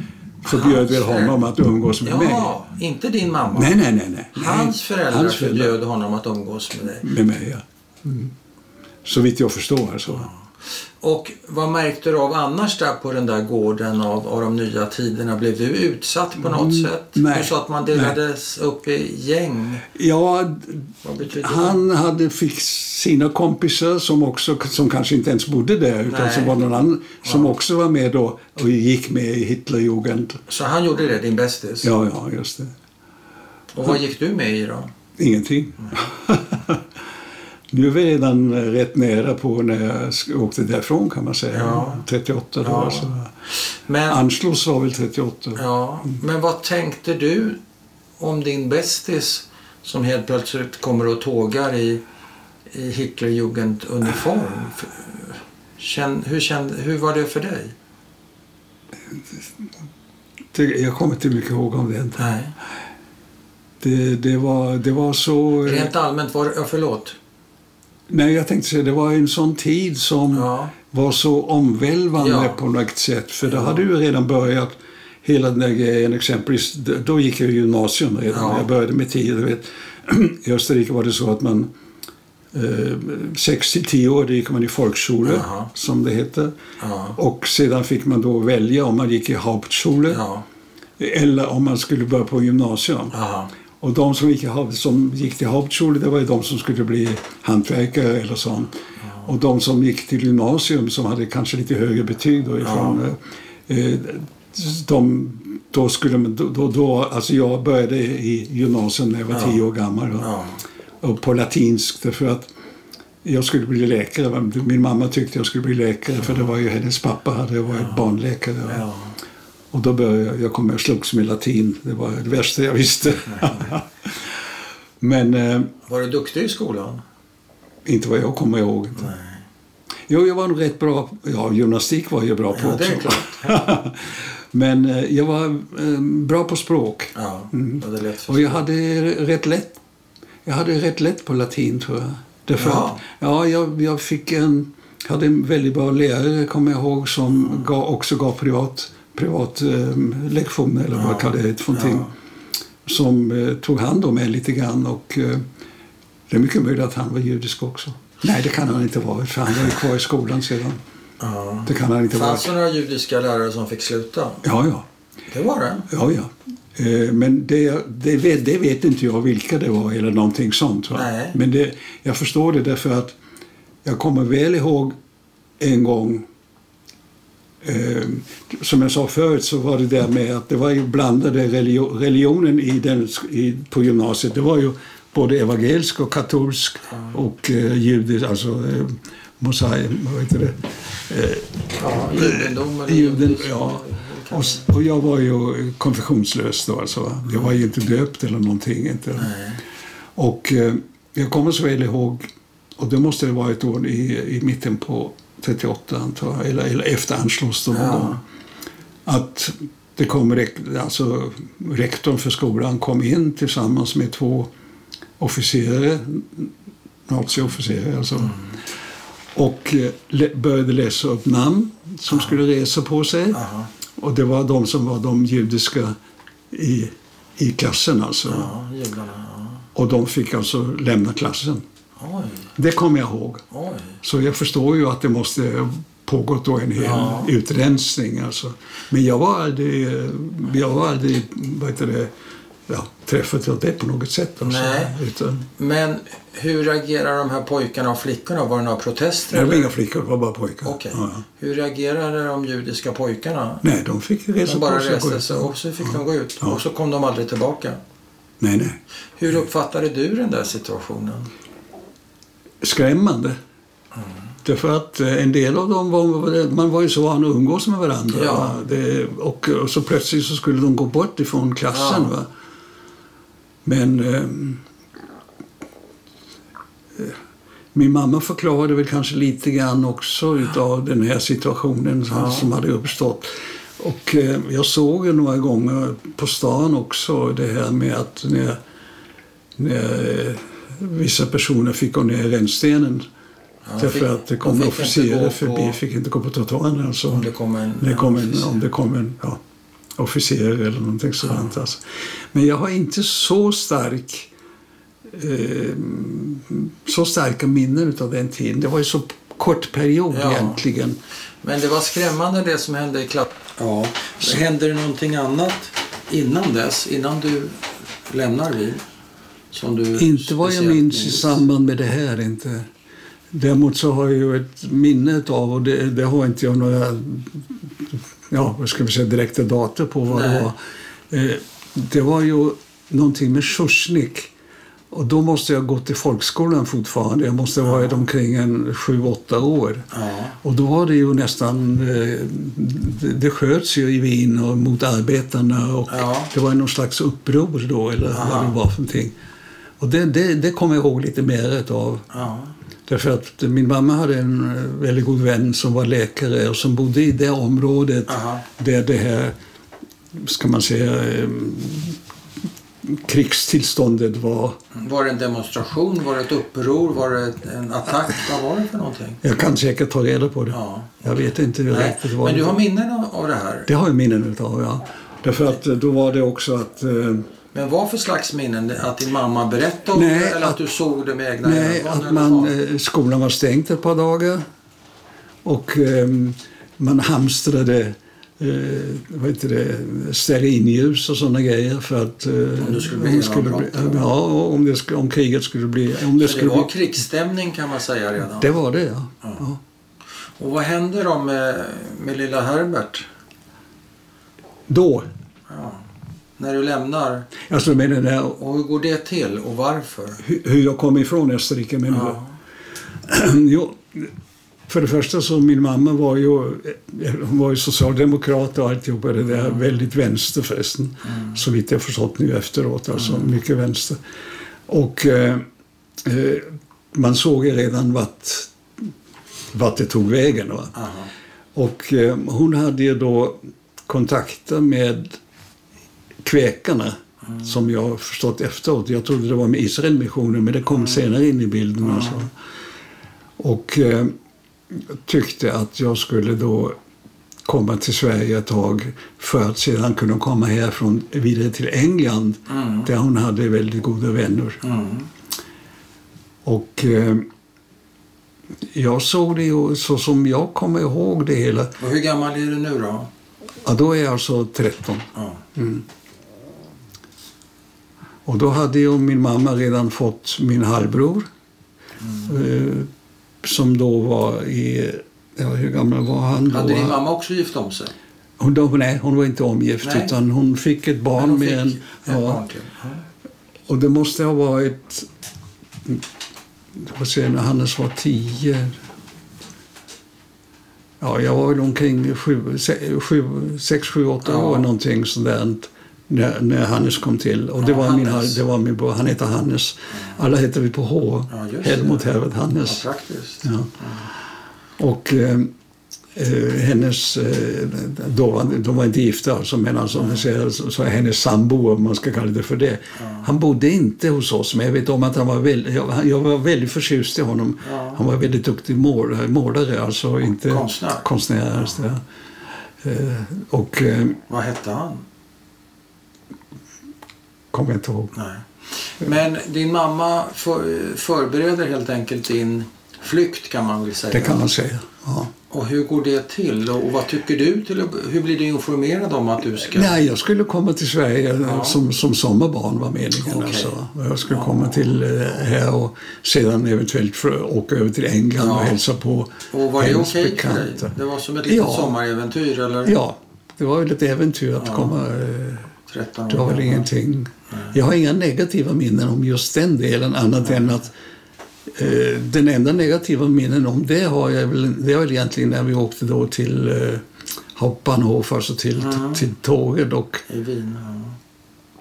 [SPEAKER 1] förbjöd väl honom att umgås med mig.
[SPEAKER 2] Ja, inte din mamma.
[SPEAKER 1] Nej, nej, nej. nej.
[SPEAKER 2] Hans föräldrar
[SPEAKER 1] Hans
[SPEAKER 2] förbjöd honom att umgås med dig.
[SPEAKER 1] Med mig, ja. Mm. Så vitt jag förstår. alltså. Så.
[SPEAKER 2] Och vad märkte du av annars där på den där gården av, av de nya tiderna? Blev du utsatt på något sätt?
[SPEAKER 1] Mm, nej.
[SPEAKER 2] Du sa att man delades upp i gäng.
[SPEAKER 1] Ja,
[SPEAKER 2] Vad betyder det?
[SPEAKER 1] han hade, fick sina kompisar som, också, som kanske inte ens bodde där utan
[SPEAKER 2] Nej.
[SPEAKER 1] som var någon annan som också var med då och gick med i Hitlerjugend.
[SPEAKER 2] Så han gjorde det, din bästis?
[SPEAKER 1] Ja, ja, just det.
[SPEAKER 2] Och vad gick du med i då?
[SPEAKER 1] Ingenting. nu är vi redan eh, rätt nära på när jag sk- åkte därifrån kan man säga.
[SPEAKER 2] Ja.
[SPEAKER 1] 38 då.
[SPEAKER 2] Ja.
[SPEAKER 1] Alltså.
[SPEAKER 2] Men,
[SPEAKER 1] Anschluss var väl 38.
[SPEAKER 2] ja, men vad tänkte du om din bästis som helt plötsligt kommer och tågar i, i Hitlerjugenduniform? Känn, hur, känn, hur var det för dig?
[SPEAKER 1] Det- Jag kommer inte mycket ihåg om det.
[SPEAKER 2] Nej.
[SPEAKER 1] Det, det, var, det var så... eh,
[SPEAKER 2] Rent allmänt var ja, förlåt.
[SPEAKER 1] Nej, jag tänkte säga det var en sån tid som
[SPEAKER 2] Ja.
[SPEAKER 1] var så omvälvande
[SPEAKER 2] Ja.
[SPEAKER 1] på något sätt. För då hade ju redan börjat hela den där grejen. Exempelvis, d- då gick jag i gymnasium redan.
[SPEAKER 2] Ja.
[SPEAKER 1] Jag började med tio. Du vet. I Österrike var det så att man eh, sex till tio år, då gick man i folkskola,
[SPEAKER 2] Jaha.
[SPEAKER 1] som det heter.
[SPEAKER 2] Ja.
[SPEAKER 1] Och sedan fick man då välja om man gick i Hauptschule
[SPEAKER 2] Ja.
[SPEAKER 1] eller om man skulle börja på gymnasium.
[SPEAKER 2] Aha.
[SPEAKER 1] Och de som gick, i Haupt- som gick till Hauptschule, det var ju de som skulle bli hantverkare eller sånt. Och de som gick till gymnasium, som hade kanske lite högre betyg då ifrån, eh, de, då skulle man, då, då, då, alltså jag började i gymnasium när jag var tio år gammal. Då,
[SPEAKER 2] Ja.
[SPEAKER 1] och på latinskt, för att jag skulle bli läkare. men Min mamma tyckte jag skulle bli läkare, för det var ju hennes pappa hade varit barnläkare.
[SPEAKER 2] Ja.
[SPEAKER 1] Och då började jag, jag kom och slogs med latin. Det var det värsta jag visste. Men eh,
[SPEAKER 2] Var du duktig i skolan?
[SPEAKER 1] inte vad jag kommer ihåg. Jo, jag var nog rätt bra. Ja, gymnastik var jag bra på
[SPEAKER 2] Ja, det
[SPEAKER 1] också.
[SPEAKER 2] är klart.
[SPEAKER 1] Men eh, jag var eh, bra på språk.
[SPEAKER 2] Ja, ja, det är lätt
[SPEAKER 1] Och
[SPEAKER 2] för
[SPEAKER 1] jag hade rätt lätt, jag hade rätt lätt på latin tror jag. Därför
[SPEAKER 2] Ja.
[SPEAKER 1] att, ja, jag, jag fick en, hade en väldigt bra lärare kommer jag ihåg som gav, också gav privat, privat eh, lektioner eller vad jag kallar det för någonting. Som eh, tog hand om mig lite grann och eh, det är mycket möjligt att han var judisk också. Nej, det kan han inte vara för han var ju kvar i skolan sedan.
[SPEAKER 2] ja.
[SPEAKER 1] Det kan han inte vara.
[SPEAKER 2] Fanns det några judiska lärare som fick sluta?
[SPEAKER 1] Ja, ja.
[SPEAKER 2] Det var det.
[SPEAKER 1] Ja, ja. Eh, Men det, det, vet, det vet inte jag vilka det var eller någonting sånt. Va?
[SPEAKER 2] Nej.
[SPEAKER 1] Men det, jag förstår det därför att jag kommer väl ihåg en gång eh, som jag sa förut så var det där med att det var ju blandade religio- religionen i den, i, på gymnasiet. Det var ju både evangelisk och katolsk och eh, judisk, alltså eh, mosai, vad heter det?
[SPEAKER 2] Ja, judendom eller
[SPEAKER 1] Juden,
[SPEAKER 2] judisk-
[SPEAKER 1] ja. Och, s- och jag var ju konfessionslös då alltså. va. Jag var ju inte döpt eller någonting. Inte. Och eh, jag kommer så väl ihåg, och det måste det vara ett år i, i mitten på 38 antar jag, eller, eller efter Anschluss då någon
[SPEAKER 2] Ja.
[SPEAKER 1] gång. Att det kom, rek- alltså rektorn för skolan kom in tillsammans med två officerare, naziofficerare alltså. Och eh, lä- började läsa upp namn som skulle resa på sig.
[SPEAKER 2] Aha.
[SPEAKER 1] Och det var de som var de judiska i, i klassen alltså.
[SPEAKER 2] Ja, judarna.
[SPEAKER 1] Och de fick alltså lämna klassen.
[SPEAKER 2] Ja. Oj,
[SPEAKER 1] Det kommer jag ihåg.
[SPEAKER 2] oj.
[SPEAKER 1] Så jag förstår ju att det måste pågått då en hel
[SPEAKER 2] Ja.
[SPEAKER 1] utrensning. Alltså. Men jag var aldrig, eh, jag var aldrig vad heter det, ja, träffat av det på något sätt. Alltså.
[SPEAKER 2] Nej.
[SPEAKER 1] Utan,
[SPEAKER 2] Men hur reagerar de här pojkarna och flickorna? Var det några protester?
[SPEAKER 1] det var
[SPEAKER 2] eller?
[SPEAKER 1] inga flickor, det var bara pojkar.
[SPEAKER 2] Okej.
[SPEAKER 1] Ja, ja.
[SPEAKER 2] Hur reagerade de judiska pojkarna?
[SPEAKER 1] Nej, de fick resa
[SPEAKER 2] De bara
[SPEAKER 1] på sig. och gå
[SPEAKER 2] reste
[SPEAKER 1] ut.
[SPEAKER 2] sig och så fick de gå ut.
[SPEAKER 1] Ja.
[SPEAKER 2] Och så kom de aldrig tillbaka.
[SPEAKER 1] Nej, nej.
[SPEAKER 2] Hur uppfattade du den där situationen? Mm.
[SPEAKER 1] skrämmande. Därför att eh, en del av dem var, man var ju så van att umgås med varandra. eh,
[SPEAKER 2] Ja.
[SPEAKER 1] Va? Det, och, och så plötsligt så skulle de gå bort ifrån klassen.
[SPEAKER 2] Ja.
[SPEAKER 1] Va? Men eh, min mamma förklarade väl kanske lite grann också utav den här situationen som-
[SPEAKER 2] Ja.
[SPEAKER 1] som hade uppstått. Och eh, jag såg ju några gånger på stan också det här med att när, när eh, vissa personer fick gå ner i rännstenen
[SPEAKER 2] Ja,
[SPEAKER 1] därför
[SPEAKER 2] fick-
[SPEAKER 1] att det
[SPEAKER 2] de
[SPEAKER 1] kom
[SPEAKER 2] fick inte
[SPEAKER 1] officerare
[SPEAKER 2] gå
[SPEAKER 1] förbi,
[SPEAKER 2] på-
[SPEAKER 1] fick inte gå på trottoaren. Alltså.
[SPEAKER 2] Om det kom en,
[SPEAKER 1] När det kom en,
[SPEAKER 2] officer.
[SPEAKER 1] om det kom en ja, officer eller någonting sådant. Alltså. Men jag har inte så stark eh, så starka minnen av den tiden. Det var ju så kort period
[SPEAKER 2] Ja.
[SPEAKER 1] egentligen.
[SPEAKER 2] Men det var skrämmande det som hände i klapp. Ja. Hände det någonting annat innan dess, innan du lämnar Wien? Som du
[SPEAKER 1] Inte vad jag
[SPEAKER 2] speciellt
[SPEAKER 1] minns i samband med det här. inte. Däremot så har jag ju ett minne av och det, det har inte jag några ja, vad ska vi säga, direkta data på vad det
[SPEAKER 2] Nej.
[SPEAKER 1] var. Eh, det var ju någonting med Sjursnik. Och då måste jag gå till folkskolan fortfarande. Jag måste ha varit omkring en sju, åtta år.
[SPEAKER 2] Ja.
[SPEAKER 1] Och då var det ju nästan... eh, Det, det sköts ju i Wien och mot arbetarna och
[SPEAKER 2] Ja.
[SPEAKER 1] det var ju någon slags uppror då eller vad det
[SPEAKER 2] Aha.
[SPEAKER 1] var för någonting. Och det, det, det kommer jag ihåg lite mer utav.
[SPEAKER 2] Ja.
[SPEAKER 1] Därför att min mamma hade en eh, väldigt god vän som var läkare och som bodde i det området
[SPEAKER 2] Aha.
[SPEAKER 1] där det här, ska man säga, eh, krigstillståndet var.
[SPEAKER 2] Var det en demonstration? Var det ett uppror? Var det ett- en attack? Vad var det för någonting?
[SPEAKER 1] Jag kan säkert ta reda på det.
[SPEAKER 2] Ja.
[SPEAKER 1] Jag vet inte hur
[SPEAKER 2] Nej.
[SPEAKER 1] riktigt vad
[SPEAKER 2] Men du
[SPEAKER 1] det
[SPEAKER 2] har
[SPEAKER 1] var.
[SPEAKER 2] minnen av- av det här?
[SPEAKER 1] Det har jag minnen utav, ja. Därför att eh, då var det också att eh,
[SPEAKER 2] Men vad för slags minnen? Att din mamma berättade om
[SPEAKER 1] Nej,
[SPEAKER 2] det eller att,
[SPEAKER 1] att-
[SPEAKER 2] du såg det med egna
[SPEAKER 1] Nej,
[SPEAKER 2] ögon?
[SPEAKER 1] att
[SPEAKER 2] eller
[SPEAKER 1] man,
[SPEAKER 2] vad?
[SPEAKER 1] eh, skolan var stängt ett par dagar och ehm, man hamstrade eh, vad heter det, stearinljus och sådana grejer för att... eh,
[SPEAKER 2] Om det skulle bli genombrott,
[SPEAKER 1] bli- Ja, och om, det, sk- om kriget skulle bli... Om det,
[SPEAKER 2] Så det
[SPEAKER 1] skulle
[SPEAKER 2] var
[SPEAKER 1] bli
[SPEAKER 2] krigsstämning kan man säga redan.
[SPEAKER 1] det var det, ja. ja.
[SPEAKER 2] Och vad händer då med, med lilla Herbert?
[SPEAKER 1] Då,
[SPEAKER 2] Ja. När du lämnar?
[SPEAKER 1] alltså med den där,
[SPEAKER 2] Och hur går det till och varför?
[SPEAKER 1] hu- hur jag kom ifrån Österrike. Men
[SPEAKER 2] Ja.
[SPEAKER 1] jo, för det första så min mamma var ju, eh, hon var ju socialdemokrat och alltihopa det där. Väldigt vänster förresten. Så vitt jag förstått nu efteråt. Alltså mycket vänster. Och eh, eh, man såg ju redan vart, vart det tog vägen. Va?
[SPEAKER 2] Aha.
[SPEAKER 1] Och eh, hon hade ju då kontakter med kväkarna som jag förstått efteråt. Jag trodde det var med Israelmissionen men det kom senare in i bilden. Och, så. och eh, tyckte att jag skulle då komma till Sverige ett tag för att sedan kunna komma härifrån vidare till England
[SPEAKER 2] Mm.
[SPEAKER 1] där hon hade väldigt goda vänner.
[SPEAKER 2] Mm.
[SPEAKER 1] Och eh, jag såg det ju så som jag kommer ihåg det hela.
[SPEAKER 2] Och hur gammal är du nu då?
[SPEAKER 1] Ja, då är jag alltså 13.
[SPEAKER 2] Ja.
[SPEAKER 1] Och då hade ju min mamma redan fått min halvbror. Eh, som då var i... Ja, hur gammal var han då?
[SPEAKER 2] Hade din mamma också gift om sig?
[SPEAKER 1] hon, då nej, hon var inte omgift
[SPEAKER 2] Nej.
[SPEAKER 1] utan hon fick ett
[SPEAKER 2] Men
[SPEAKER 1] barn
[SPEAKER 2] hon
[SPEAKER 1] med en...
[SPEAKER 2] fick ett
[SPEAKER 1] Ja,
[SPEAKER 2] barn till. Ja.
[SPEAKER 1] och det måste ha varit... Vad säger jag, när Hannes var 10... Ja, jag var väl omkring 6, 7, 8
[SPEAKER 2] Ja.
[SPEAKER 1] år någonting sådant när, när Hannes kom till. Och det,
[SPEAKER 2] Ja,
[SPEAKER 1] var min,
[SPEAKER 2] Hannes.
[SPEAKER 1] det var min bror, han heter Hannes. Alla heter vi på H.
[SPEAKER 2] Ja, just det.
[SPEAKER 1] Helmut, Herbert,
[SPEAKER 2] Ja,
[SPEAKER 1] Hannes.
[SPEAKER 2] praktiskt.
[SPEAKER 1] Ja. Och eh, eh, hennes, eh, då var, de var inte gifta alltså, men alltså, om man säger, så, så hennes sambo, om man ska kalla det för det, han bodde inte hos oss, men jag vet om att han var väldigt, jag, han- jag var väldigt förtjust i honom.
[SPEAKER 2] Ja.
[SPEAKER 1] Han var väldigt duktig målare, målare alltså inte
[SPEAKER 2] konstnär.
[SPEAKER 1] konstnär alltså, ja. Eh, och eh,
[SPEAKER 2] Vad hette han?
[SPEAKER 1] kommer jag inte ihåg.
[SPEAKER 2] Nej. Men din mamma för, förbereder helt enkelt din flykt kan man väl säga.
[SPEAKER 1] Det kan man säga. Ja.
[SPEAKER 2] Och hur går det till? Och vad tycker du? Till, hur blir du informerad om att du ska...
[SPEAKER 1] Nej, jag skulle komma till Sverige eh,
[SPEAKER 2] Ja.
[SPEAKER 1] som, som sommarbarn var meningen.
[SPEAKER 2] Okej.
[SPEAKER 1] Alltså. Och Jag skulle komma till eh, här och sedan eventuellt för, åka över till England och
[SPEAKER 2] Ja.
[SPEAKER 1] hälsa på
[SPEAKER 2] Och var det
[SPEAKER 1] hennes
[SPEAKER 2] okej för
[SPEAKER 1] bekanta.
[SPEAKER 2] dig? Det var som ett litet
[SPEAKER 1] Ja.
[SPEAKER 2] sommaräventyr eller?
[SPEAKER 1] Ja, det var väl ett äventyr att
[SPEAKER 2] Ja.
[SPEAKER 1] komma. eh,
[SPEAKER 2] 13 år
[SPEAKER 1] Det var väl
[SPEAKER 2] gammal.
[SPEAKER 1] ingenting. Jag har inga negativa minnen om just den delen annat än att eh, den enda negativa minnen om det har jag väl, det var väl egentligen när vi åkte då till eh, Hauptbahnhof, alltså till, till tåget och
[SPEAKER 2] I Wien, ja.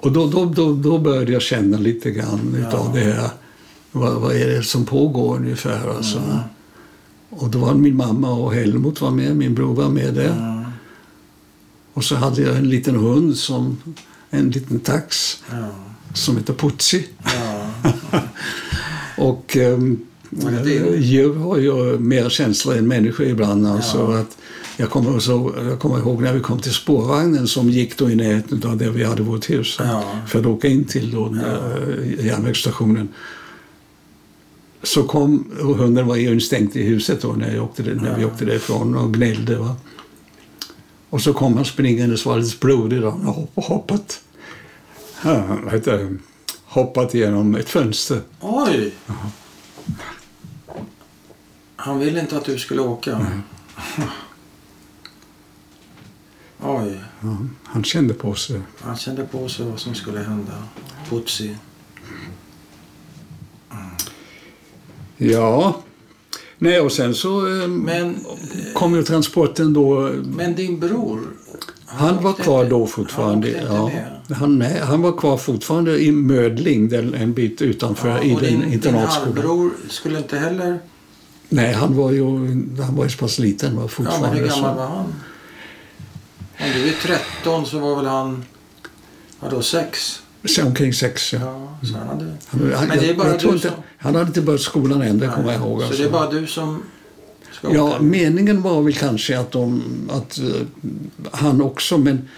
[SPEAKER 1] Och Och då, då, då, då började jag känna lite grann utav det här. Vad, vad är det som pågår ungefär? Alltså. Och då var min mamma och Helmut var med, min bror var med där.
[SPEAKER 2] Ja.
[SPEAKER 1] Och så hade jag en liten hund, som en liten tax,
[SPEAKER 2] Ja.
[SPEAKER 1] som hette Putsi.
[SPEAKER 2] Ja.
[SPEAKER 1] Och ehm,
[SPEAKER 2] Var det din?
[SPEAKER 1] djur har ju mer känslor än människor ibland. Alltså,
[SPEAKER 2] Ja.
[SPEAKER 1] att jag, kommer så, jag kommer ihåg när vi kom till spårvagnen som gick då i närheten av där vi hade vårt hus.
[SPEAKER 2] Ja.
[SPEAKER 1] För att åka in till då, eh, järnvägsstationen. Så kom, och hunden var ju instängd i huset då när, jag åkte, när vi åkte därifrån och gnällde. Va? Och så kom han springandes och var alldeles blodig. då. Han hade hopp- hoppat, han hette, hoppat genom ett fönster.
[SPEAKER 2] Oj! Han ville inte att du skulle åka.
[SPEAKER 1] Mm.
[SPEAKER 2] Oj,
[SPEAKER 1] Ja, han kände på sig.
[SPEAKER 2] han kände på sig vad som skulle hända. Putsi.
[SPEAKER 1] Ja. Nej, och sen så eh,
[SPEAKER 2] Men,
[SPEAKER 1] kom ju transporten då.
[SPEAKER 2] men din bror?
[SPEAKER 1] Han var
[SPEAKER 2] åkte
[SPEAKER 1] kvar
[SPEAKER 2] inte-
[SPEAKER 1] då fortfarande.
[SPEAKER 2] Han åkte
[SPEAKER 1] ja.
[SPEAKER 2] inte med.
[SPEAKER 1] han, nej, han var kvar fortfarande i Mödling, den, en bit utanför
[SPEAKER 2] Ja,
[SPEAKER 1] i
[SPEAKER 2] och din,
[SPEAKER 1] den
[SPEAKER 2] din
[SPEAKER 1] internatskolan.
[SPEAKER 2] halvbror skulle inte heller...
[SPEAKER 1] Nej, han var ju han var ju så pass liten var
[SPEAKER 2] Ja, men
[SPEAKER 1] fortfarande.
[SPEAKER 2] hur gammal
[SPEAKER 1] så.
[SPEAKER 2] var han? Om du är 13 så var väl han... Ja, då 6?
[SPEAKER 1] Så omkring sex. Ja.
[SPEAKER 2] Ja, så han hade...
[SPEAKER 1] Han, han,
[SPEAKER 2] Men det är
[SPEAKER 1] jag,
[SPEAKER 2] bara
[SPEAKER 1] jag tror
[SPEAKER 2] du
[SPEAKER 1] inte,
[SPEAKER 2] som-
[SPEAKER 1] han hade inte börjat skolan än, det kommer jag ihåg.
[SPEAKER 2] Så
[SPEAKER 1] alltså.
[SPEAKER 2] det är bara du som ska
[SPEAKER 1] Ja,
[SPEAKER 2] åka?
[SPEAKER 1] meningen var väl kanske att, de, att eh, han också, men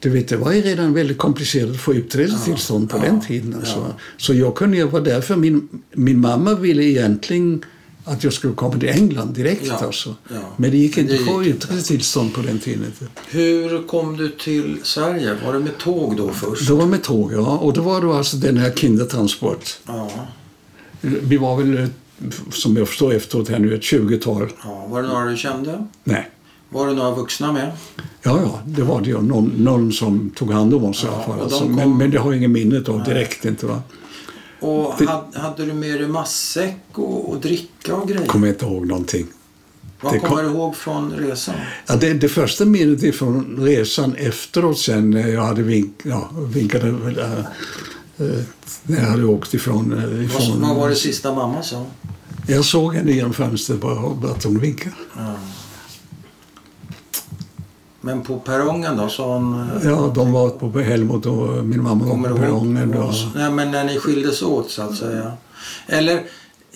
[SPEAKER 1] du vet, det var ju redan väldigt komplicerat att få utresetillstånd på
[SPEAKER 2] Ja,
[SPEAKER 1] den tiden. Alltså.
[SPEAKER 2] ja.
[SPEAKER 1] Så jag kunde ju vara där, för min, min mamma ville egentligen att jag skulle komma till England direkt.
[SPEAKER 2] Ja,
[SPEAKER 1] Alltså.
[SPEAKER 2] ja.
[SPEAKER 1] Men det gick
[SPEAKER 2] Men
[SPEAKER 1] inte
[SPEAKER 2] det
[SPEAKER 1] att få
[SPEAKER 2] gick inte.
[SPEAKER 1] utresetillstånd på den tiden.
[SPEAKER 2] Hur kom du till Sverige? Var det med tåg då först?
[SPEAKER 1] Då var det med tåg, ja. Och då var det alltså den här Kindertransport.
[SPEAKER 2] Ja.
[SPEAKER 1] Vi var väl, eh, som jag förstår efteråt här nu, ett 20-tal.
[SPEAKER 2] ja. Var det några du kände?
[SPEAKER 1] Nej.
[SPEAKER 2] Var det några vuxna med?
[SPEAKER 1] Ja, ja, det var det ju. Någon, någon som tog hand om oss i
[SPEAKER 2] Ja,
[SPEAKER 1] alla fall.
[SPEAKER 2] och de
[SPEAKER 1] Alltså.
[SPEAKER 2] kom-
[SPEAKER 1] Men, men det har jag ingen minnet av direkt. inte va?
[SPEAKER 2] Och
[SPEAKER 1] Det-
[SPEAKER 2] hade, hade du med dig matsäck och, och dricka och grejer?
[SPEAKER 1] kommer jag inte ihåg någonting. det
[SPEAKER 2] Vad
[SPEAKER 1] kom-
[SPEAKER 2] kommer du ihåg från resan?
[SPEAKER 1] Ja, det, det första minnet är från resan efteråt sen när jag hade vink, ja, vinkade... väl, Äh, äh, när jag hade åkt ifrån... Äh,
[SPEAKER 2] Vad,
[SPEAKER 1] ifrån
[SPEAKER 2] vad var det sista mamma sa?
[SPEAKER 1] Jag såg henne genom fönstret bara att hon vinkade.
[SPEAKER 2] Ja. Men på perrongen då sa hon... eh,
[SPEAKER 1] Ja, de var på Helmut och min mamma var
[SPEAKER 2] Kommer
[SPEAKER 1] på
[SPEAKER 2] du ihåg?
[SPEAKER 1] perrongen. då.
[SPEAKER 2] Nej, men när ni skildes åt så att säga. Eller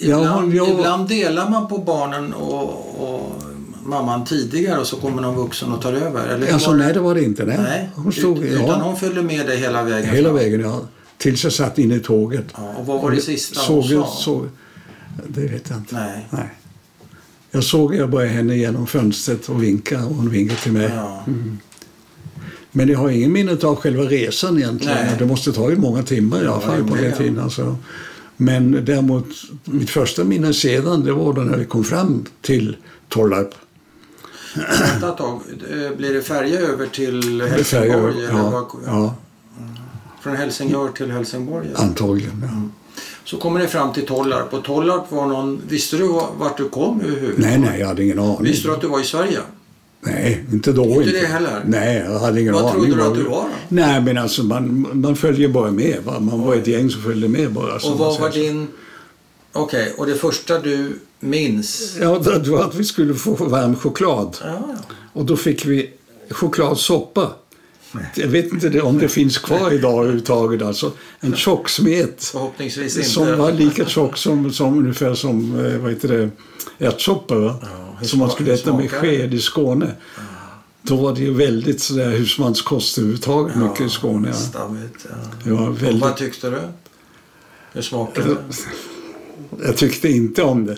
[SPEAKER 1] Ja,
[SPEAKER 2] ibland,
[SPEAKER 1] jag-
[SPEAKER 2] ibland delar man på barnen och, och mamman tidigare och så kommer någon vuxen och tar över. Eller hur
[SPEAKER 1] Alltså,
[SPEAKER 2] var det?
[SPEAKER 1] nej, det var det inte. Nej.
[SPEAKER 2] nej.
[SPEAKER 1] hon stod,
[SPEAKER 2] Ut, utan
[SPEAKER 1] ja,
[SPEAKER 2] hon följde med dig hela vägen.
[SPEAKER 1] hela
[SPEAKER 2] fram.
[SPEAKER 1] vägen, ja. Tills jag satt inne i tåget.
[SPEAKER 2] Ja, och vad var det sista
[SPEAKER 1] såg
[SPEAKER 2] hon
[SPEAKER 1] jag,
[SPEAKER 2] sa?
[SPEAKER 1] såg, Det vet jag inte.
[SPEAKER 2] Nej.
[SPEAKER 1] Nej. Jag såg jag bara henne genom fönstret och vinkade och hon vinkade till mig.
[SPEAKER 2] Ja.
[SPEAKER 1] Men jag har ingen minne av själva resan egentligen.
[SPEAKER 2] Nej.
[SPEAKER 1] Det måste ta ju många timmar i alla
[SPEAKER 2] Ja,
[SPEAKER 1] fall på den
[SPEAKER 2] rimligen.
[SPEAKER 1] tiden. Alltså. Men däremot, mitt första minne sedan det var då när vi kom fram till Tollarp.
[SPEAKER 2] Vänta ett tag. Eh, Blir det färja över till
[SPEAKER 1] Det säger jag-
[SPEAKER 2] Helsingborg? eller
[SPEAKER 1] ja,
[SPEAKER 2] vad-
[SPEAKER 1] ja,
[SPEAKER 2] Från Helsingör till Helsingborg? eller?
[SPEAKER 1] antagligen. Ja.
[SPEAKER 2] Mm. Så kommer ni fram till Tollarp. Och Tollarp var någon... Visste du var- vart du kom överhuvudtaget?
[SPEAKER 1] Nej, nej, jag hade ingen aning.
[SPEAKER 2] Visste du att du var i Sverige?
[SPEAKER 1] Nej, inte då.
[SPEAKER 2] Inte det heller?
[SPEAKER 1] Nej, jag hade ingen
[SPEAKER 2] Vad
[SPEAKER 1] aning.
[SPEAKER 2] trodde du
[SPEAKER 1] vad
[SPEAKER 2] att
[SPEAKER 1] vi-
[SPEAKER 2] du var då?
[SPEAKER 1] Nej, men alltså man, man följer bara med. Va? Man var ett gäng som följde med bara. som
[SPEAKER 2] Och
[SPEAKER 1] man
[SPEAKER 2] vad
[SPEAKER 1] säger
[SPEAKER 2] var
[SPEAKER 1] så.
[SPEAKER 2] din... Okej, och det första du minns?
[SPEAKER 1] Ja, det det var att vi skulle få varm choklad.
[SPEAKER 2] Ja,
[SPEAKER 1] Och då fick vi chokladsoppa. Jag vet inte det- om det finns kvar idag överhuvudtaget. Alltså, en tjocksmet
[SPEAKER 2] förhoppningsvis inte.
[SPEAKER 1] som var lika tjock som, som ungefär som eh, vad heter det, ärtsoppa. Va?
[SPEAKER 2] hur
[SPEAKER 1] som man
[SPEAKER 2] sma-
[SPEAKER 1] skulle
[SPEAKER 2] hur
[SPEAKER 1] äta med
[SPEAKER 2] smakar det?
[SPEAKER 1] sked i Skåne. Då var det ju väldigt sådär husmanskost överhuvudtaget mycket i Skåne. Ja.
[SPEAKER 2] Stammigt, ja.
[SPEAKER 1] Det var
[SPEAKER 2] Och vad
[SPEAKER 1] väldigt... Alltså-
[SPEAKER 2] tyckte du? Hur smakade det?
[SPEAKER 1] Jag tyckte inte om det.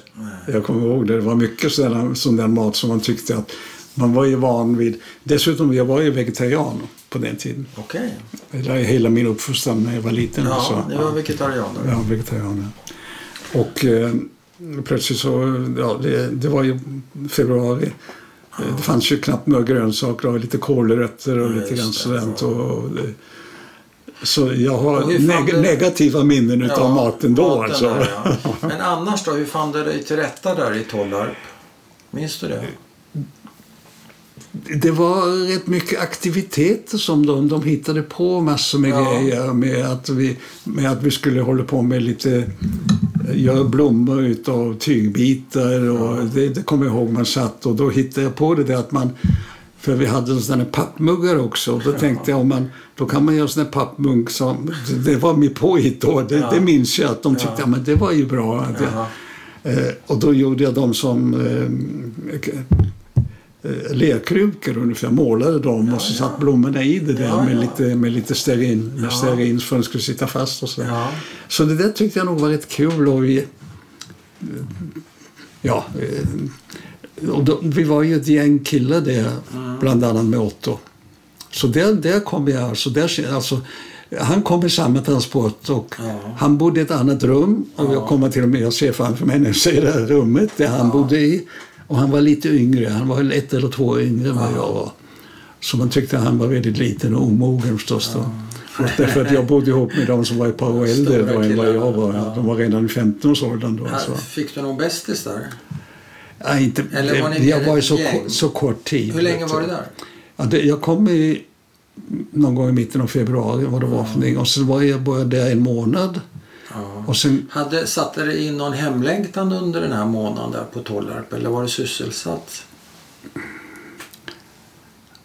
[SPEAKER 1] Jag kommer ihåg det. Det var mycket sådan, sån där mat som man tyckte att man var ju van vid. Dessutom, jag var ju vegetarian på den tiden.
[SPEAKER 2] Okej.
[SPEAKER 1] Det var ju hela min uppfostran när jag var liten.
[SPEAKER 2] Ja,
[SPEAKER 1] alltså.
[SPEAKER 2] det var vegetarianer.
[SPEAKER 1] Ja, vegetarianer. Och eh, plötsligt så, ja, det, det var ju februari. Eh, Det fanns ju knappt några grönsaker och lite kålrötter och
[SPEAKER 2] Ja,
[SPEAKER 1] lite grann
[SPEAKER 2] just det.
[SPEAKER 1] sådant. Och, och, det- så jag har
[SPEAKER 2] Och hur fan
[SPEAKER 1] neg-
[SPEAKER 2] blev-
[SPEAKER 1] negativa minnen utav maten då
[SPEAKER 2] maten
[SPEAKER 1] alltså.
[SPEAKER 2] där, ja. Men annars då, hur fann du dig till rätta där i Tollarp? Minns du det?
[SPEAKER 1] det var rätt mycket aktiviteter som de, de hittade på massor med
[SPEAKER 2] Ja.
[SPEAKER 1] grejer med att, vi, med att vi skulle hålla på med lite eh, göra blommor utav tygbitar och det, det kommer jag ihåg man satt och då hittade jag på det där att man för vi hade sådana pappmuggar också. Då tänkte jag om man, då kan man göra sån här pappmunk som, det var mitt påhitt då. Det,
[SPEAKER 2] Ja.
[SPEAKER 1] det minns jag att de tyckte,
[SPEAKER 2] Ja.
[SPEAKER 1] ja. men det var ju bra. Att jag,
[SPEAKER 2] Jaha.
[SPEAKER 1] Eh, och då gjorde jag dem som eh, k- eh, lerkrukor ungefär, målade dem och så
[SPEAKER 2] ja.
[SPEAKER 1] satt blommorna i det där
[SPEAKER 2] Ja,
[SPEAKER 1] med,
[SPEAKER 2] ja.
[SPEAKER 1] Lite, med lite stearin, med
[SPEAKER 2] Ja.
[SPEAKER 1] stearin för att de skulle sitta fast och så.
[SPEAKER 2] Ja.
[SPEAKER 1] Så det där tyckte jag nog var rätt kul och vi... eh, Ja, eh, och då, vi var ju ett gäng killar där, bland annat med Otto. Så där, där kom jag, alltså, där, alltså, han kom i samma transport och
[SPEAKER 2] Ja.
[SPEAKER 1] han bodde i ett annat rum och jag kommer till och med att se framför mig när jag ser det här rummet där han bodde i. Och han var lite yngre, han var väl ett eller två år yngre än vad jag var. Så man tyckte han var väldigt liten och omogen förstås då. Och därför att jag bodde ihop med de som var ett par år
[SPEAKER 2] Stora
[SPEAKER 1] äldre då än vad jag
[SPEAKER 2] killar,
[SPEAKER 1] var.
[SPEAKER 2] ja.
[SPEAKER 1] De var redan i 15-årsåldern då. Alltså.
[SPEAKER 2] Här, fick du någon bästis där?
[SPEAKER 1] Ja, inte,
[SPEAKER 2] Eller var ni
[SPEAKER 1] jag var ju så,
[SPEAKER 2] ett gäng?
[SPEAKER 1] ko- så kort tid.
[SPEAKER 2] Hur länge
[SPEAKER 1] vet
[SPEAKER 2] var
[SPEAKER 1] du.
[SPEAKER 2] du där?
[SPEAKER 1] Ja, det, jag kom i, någon gång i mitten av februari vad det var för någonting. Och så var jag bara där en månad.
[SPEAKER 2] Ja.
[SPEAKER 1] Och sen,
[SPEAKER 2] Hade, satte det in någon hemlängtan under den här månaden där på Tollarp eller var du sysselsatt?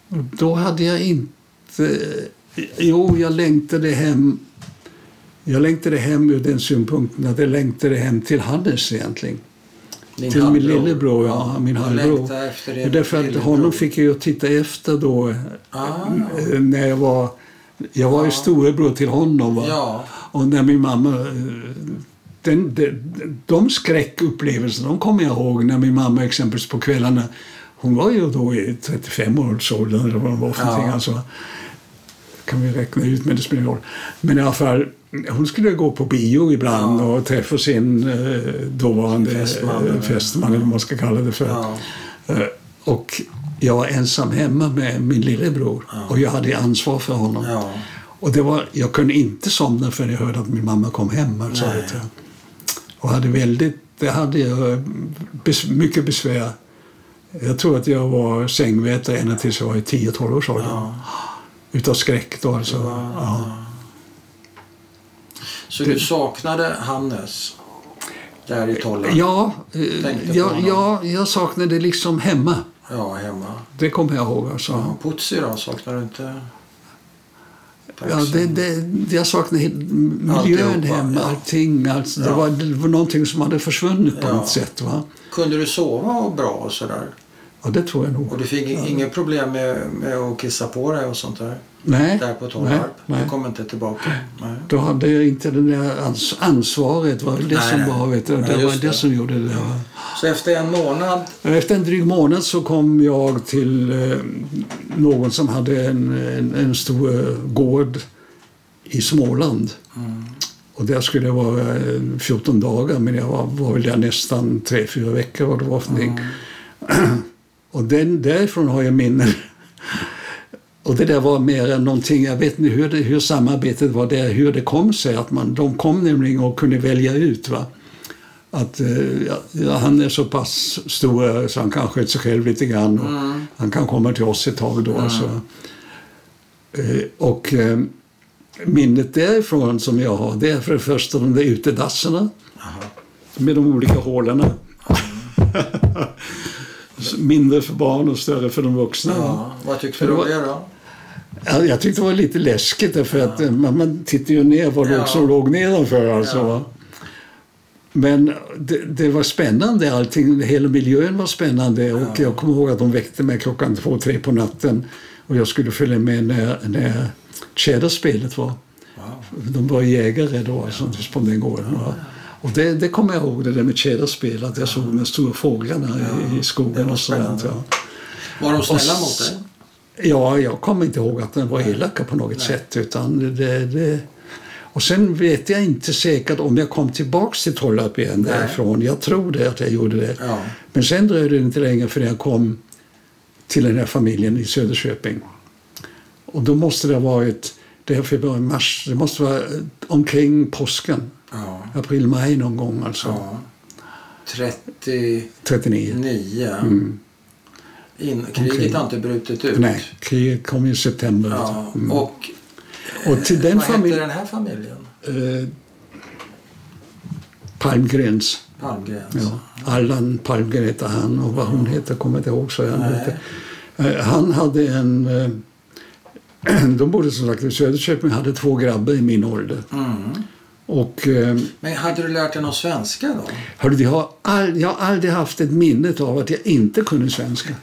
[SPEAKER 1] då hade jag inte... Jo, jag längtade hem. Jag längtade hem ur den synpunkten att jag längtade hem till Hannes egentligen.
[SPEAKER 2] Din
[SPEAKER 1] till min
[SPEAKER 2] halvbror?
[SPEAKER 1] lillebror, ja. Min
[SPEAKER 2] Du
[SPEAKER 1] halvbror.
[SPEAKER 2] längtade efter din
[SPEAKER 1] Därför att
[SPEAKER 2] lillebror.
[SPEAKER 1] honom fick jag ju titta efter då.
[SPEAKER 2] Ah,
[SPEAKER 1] eh, När jag var... Jag var ju storebror till honom. Va?
[SPEAKER 2] ja.
[SPEAKER 1] Och när min mamma... eh, Den, den, de skräckupplevelserna de kommer jag ihåg när min mamma exempelvis på kvällarna... Hon var ju då i 35-årsåldern eller vad hon var för
[SPEAKER 2] Ja.
[SPEAKER 1] någonting. Alltså, kan vi räkna ut, men det spelar ingen roll. Men i alla fall, hon skulle gå på bio ibland
[SPEAKER 2] Ja.
[SPEAKER 1] och träffa sin eh, dåvarande
[SPEAKER 2] Fästman.
[SPEAKER 1] eh, fästman, eller vad man ska kalla det för.
[SPEAKER 2] Ja.
[SPEAKER 1] Eh, Och jag var ensam hemma med min lillebror och jag hade ansvar för honom.
[SPEAKER 2] Ja.
[SPEAKER 1] Och det var, jag kunde inte somna förrän jag hörde att min mamma kom hem. Alltså,
[SPEAKER 2] Nej.
[SPEAKER 1] vet jag. Och hade väldigt, det hade jag eh, bes, mycket besvär. Jag tror att jag var sängvätare ända tills jag var i 10-12 års ålder.
[SPEAKER 2] Ja.
[SPEAKER 1] Utav skräck då alltså. Ja.
[SPEAKER 2] Så du saknade Hannes där i Tollarp?
[SPEAKER 1] Ja, eh,
[SPEAKER 2] Tänkte på
[SPEAKER 1] jag,
[SPEAKER 2] honom.
[SPEAKER 1] jag, jag saknade liksom hemma.
[SPEAKER 2] Ja, hemma.
[SPEAKER 1] Det kommer jag ihåg. Alltså.
[SPEAKER 2] Ja, Putsi då, saknar du inte?
[SPEAKER 1] Ja, det, det, jag saknade he- miljön
[SPEAKER 2] Alltihopa,
[SPEAKER 1] hemma,
[SPEAKER 2] ja.
[SPEAKER 1] allting. Alltså, det,
[SPEAKER 2] Ja.
[SPEAKER 1] var, det var någonting som hade försvunnit på
[SPEAKER 2] Ja.
[SPEAKER 1] något sätt. Va?
[SPEAKER 2] Kunde du sova och bra och sådär?
[SPEAKER 1] Ja, det tror jag
[SPEAKER 2] Och
[SPEAKER 1] nog.
[SPEAKER 2] du fick inga problem med, med att kissa på dig och sånt där?
[SPEAKER 1] Nej,
[SPEAKER 2] Där på
[SPEAKER 1] nej,
[SPEAKER 2] Tornarp? Du
[SPEAKER 1] nej.
[SPEAKER 2] kom inte tillbaka? Nej.
[SPEAKER 1] Då hade jag inte det där ans- ansvaret. Var det
[SPEAKER 2] Nej,
[SPEAKER 1] som
[SPEAKER 2] nej.
[SPEAKER 1] var, vet du.
[SPEAKER 2] Nej,
[SPEAKER 1] Det var
[SPEAKER 2] just
[SPEAKER 1] det,
[SPEAKER 2] det.
[SPEAKER 1] som gjorde det. Va?
[SPEAKER 2] Så efter en månad?
[SPEAKER 1] Efter en dryg månad så kom jag till eh, någon som hade en, en, en stor eh, gård i Småland.
[SPEAKER 2] Mm.
[SPEAKER 1] Och där skulle jag vara eh, 14 dagar, men jag var, var väl där nästan 3-4 veckor. Vad det var för någonting.
[SPEAKER 2] Mm.
[SPEAKER 1] Och den, därifrån har jag minnen. Och det där var mer än någonting, jag vet inte hur, det, hur samarbetet var där, hur det kom sig att man, de kom nämligen och kunde välja ut. Va? Att eh, ja, ja, han är så pass stor så han kan sköta sig själv lite grann och han kan komma till oss ett tag då. Alltså. Eh, och eh, minnet därifrån som jag har, det är för det första de där utedasserna med de olika hålorna. Mindre för barn och större för de vuxna. va?
[SPEAKER 2] Ja, vad tyckte du
[SPEAKER 1] Det
[SPEAKER 2] om
[SPEAKER 1] var-
[SPEAKER 2] det då?
[SPEAKER 1] Ja, jag tyckte det var lite läskigt därför att eh, man, man tittar ju ner vad
[SPEAKER 2] Ja.
[SPEAKER 1] låg som låg nedanför. Alltså,
[SPEAKER 2] Ja.
[SPEAKER 1] va? Men det, det var spännande allting. Hela miljön var spännande och jag kommer ihåg att de väckte mig klockan två, tre på natten och jag skulle följa med när, när Cheddar-spelet var.
[SPEAKER 2] Wow.
[SPEAKER 1] De var jägare då, alltså, på den gården. Va? Och det, det kommer jag ihåg, det där med Cheddar-spel, att jag såg de stora fåglarna i, i
[SPEAKER 2] det
[SPEAKER 1] skogen
[SPEAKER 2] var
[SPEAKER 1] och sådant.
[SPEAKER 2] spännande.
[SPEAKER 1] Ja.
[SPEAKER 2] Var de snälla
[SPEAKER 1] Och
[SPEAKER 2] mot
[SPEAKER 1] s-
[SPEAKER 2] dig?
[SPEAKER 1] Ja, jag kommer inte ihåg att den var elaka på något sätt. Utan det, det... Och sen vet jag inte säkert om jag kom tillbaks till Tollarp igen
[SPEAKER 2] Nej.
[SPEAKER 1] därifrån. Jag tror det att jag gjorde det.
[SPEAKER 2] Ja.
[SPEAKER 1] Men sen dröjde det inte länge förrän jag kom till den här familjen i Söderköping. Och då måste det ha varit, det här februari, mars, det måste vara eh, omkring påsken.
[SPEAKER 2] Ja.
[SPEAKER 1] April, maj någon gång alltså.
[SPEAKER 2] ja. 39.
[SPEAKER 1] 39.
[SPEAKER 2] in, kriget
[SPEAKER 1] Mm. Omkring.
[SPEAKER 2] har inte brutit ut.
[SPEAKER 1] Nej, kriget kom i september.
[SPEAKER 2] Ja,
[SPEAKER 1] Mm.
[SPEAKER 2] och
[SPEAKER 1] och till den
[SPEAKER 2] vad hette
[SPEAKER 1] familjen...
[SPEAKER 2] den här familjen?
[SPEAKER 1] Eh, Palmgrens.
[SPEAKER 2] Palmgrens.
[SPEAKER 1] Ja. Allan Palmgren hette han och vad hon hette kommer jag inte ihåg. Så han,
[SPEAKER 2] Nej.
[SPEAKER 1] hette. Eh, han hade en... eh, De bodde som sagt i Söderköping hade två grabbar i min ålder.
[SPEAKER 2] Mm.
[SPEAKER 1] Och eh,
[SPEAKER 2] Men hade du lärt dig någon svenska då?
[SPEAKER 1] hörru, jag, har all, jag har aldrig haft ett minne av att jag inte kunde svenska.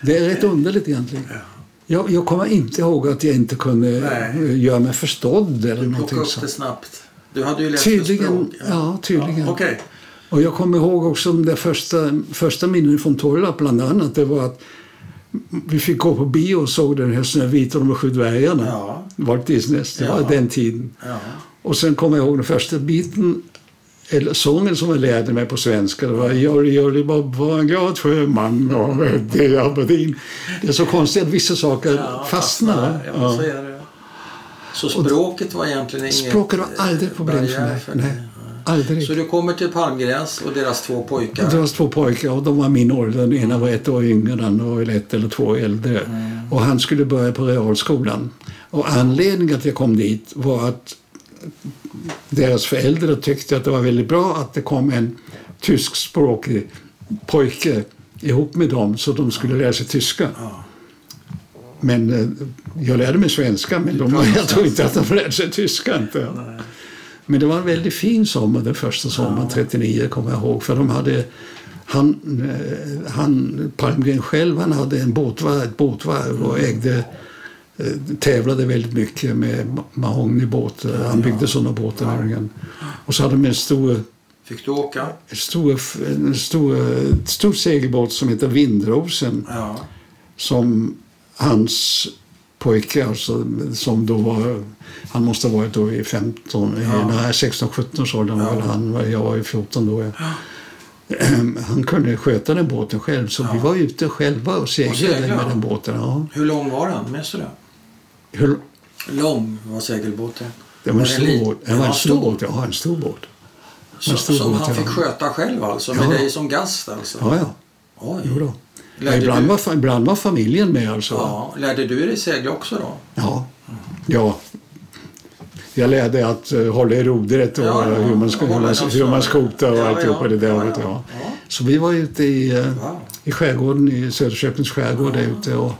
[SPEAKER 1] Det är rätt underligt egentligen. Jag, jag kommer inte ihåg att jag inte kunde
[SPEAKER 2] Nej.
[SPEAKER 1] eh, göra mig förstådd eller
[SPEAKER 2] Plocka
[SPEAKER 1] någonting
[SPEAKER 2] upp
[SPEAKER 1] sånt.
[SPEAKER 2] det snabbt. Du hade ju läst
[SPEAKER 1] Tydligen,
[SPEAKER 2] språk.
[SPEAKER 1] ja, tydligen.
[SPEAKER 2] Ja, Okej.
[SPEAKER 1] Och jag kommer ihåg också de där första, första minnen från Torla bland annat. Det var att vi fick gå på bio och såg den här Snö vit och de sju dvärgarna.
[SPEAKER 2] Ja.
[SPEAKER 1] Walt Disneys. Det var
[SPEAKER 2] Ja.
[SPEAKER 1] den tiden.
[SPEAKER 2] Ja.
[SPEAKER 1] Och sen kommer jag ihåg den första biten, eller sången som jag lärde mig på svenska. Det var Jolly Jolly Bob var en glad sjöman och det är Aberdeen. Det är så konstigt att vissa saker
[SPEAKER 2] Ja,
[SPEAKER 1] fastnar.
[SPEAKER 2] Ja,
[SPEAKER 1] Ja.
[SPEAKER 2] Så är det. Så språket var egentligen inget
[SPEAKER 1] Språket var aldrig
[SPEAKER 2] eh,
[SPEAKER 1] ett problem för
[SPEAKER 2] barriär
[SPEAKER 1] mig. Nej, aldrig.
[SPEAKER 2] Så du kommer till Palmgräns och deras två pojkar.
[SPEAKER 1] Det var två pojkar och de var min ålder. Den ena var ett år yngre, den andra var väl ett eller två år äldre.
[SPEAKER 2] Mm.
[SPEAKER 1] Och han skulle börja på realskolan. Och anledningen att jag kom dit var att deras föräldrar tyckte att det var väldigt bra att det kom en tyskspråkig pojke ihop med dem så de skulle lära sig tyska.
[SPEAKER 2] Ja.
[SPEAKER 1] Men eh, jag lärde mig svenska, men de, jag tror inte att de lärde sig tyska. Inte. Men det var en väldigt fin sommar, den första sommaren 39 kommer jag ihåg. För de hade, han, eh, han, Palmgren själv han hade en båtvarv, ett båtvarv och ägde, eh, tävlade väldigt mycket med ma- mahognybåtar. Han byggde sådana båtar nämligen. Och så hade de en stor,
[SPEAKER 2] Fick du åka?
[SPEAKER 1] en stor, en stor, ett stor segelbåt som heter Vindrosen
[SPEAKER 2] Ja.
[SPEAKER 1] som hans pojke, alltså, som då var, han måste ha varit då i 15,
[SPEAKER 2] Ja.
[SPEAKER 1] ja. nej 16, 17 års åldern
[SPEAKER 2] Ja.
[SPEAKER 1] var väl han, var- jag var ju 14 då. Ja. Han kunde sköta den båten själv, så vi var ute själva och seglade
[SPEAKER 2] segla,
[SPEAKER 1] med
[SPEAKER 2] ja.
[SPEAKER 1] den båten. Ja.
[SPEAKER 2] Hur lång var den? Minns du det?
[SPEAKER 1] Hur,
[SPEAKER 2] Lång var segelbåten.
[SPEAKER 1] det var en stor
[SPEAKER 2] lit-
[SPEAKER 1] båt. Det var en stor båt, ja, en stor båt.
[SPEAKER 2] Så,
[SPEAKER 1] stor
[SPEAKER 2] som
[SPEAKER 1] båt,
[SPEAKER 2] han
[SPEAKER 1] ja.
[SPEAKER 2] fick sköta själv alltså, med
[SPEAKER 1] Ja.
[SPEAKER 2] dig som gast alltså?
[SPEAKER 1] Ja, ja,
[SPEAKER 2] Oj.
[SPEAKER 1] jo då. Ja,
[SPEAKER 2] Lärde
[SPEAKER 1] ibland,
[SPEAKER 2] du-
[SPEAKER 1] var, fa- ibland var familjen med alltså.
[SPEAKER 2] Ja, lärde du dig segla också då?
[SPEAKER 1] Ja. ja. Jag lärde att eh, hålla i rodret och
[SPEAKER 2] Ja, ja.
[SPEAKER 1] hur man, ska, hur
[SPEAKER 2] Hålla
[SPEAKER 1] man,
[SPEAKER 2] den
[SPEAKER 1] hur man
[SPEAKER 2] snurren.
[SPEAKER 1] skotar och
[SPEAKER 2] Ja,
[SPEAKER 1] alltihopa
[SPEAKER 2] ja.
[SPEAKER 1] det där.
[SPEAKER 2] Ja,
[SPEAKER 1] vet du,
[SPEAKER 2] ja.
[SPEAKER 1] ja.
[SPEAKER 2] Ja.
[SPEAKER 1] Så vi var ute i, eh,
[SPEAKER 2] Wow.
[SPEAKER 1] i skärgården, i Söderköpings skärgård där ute och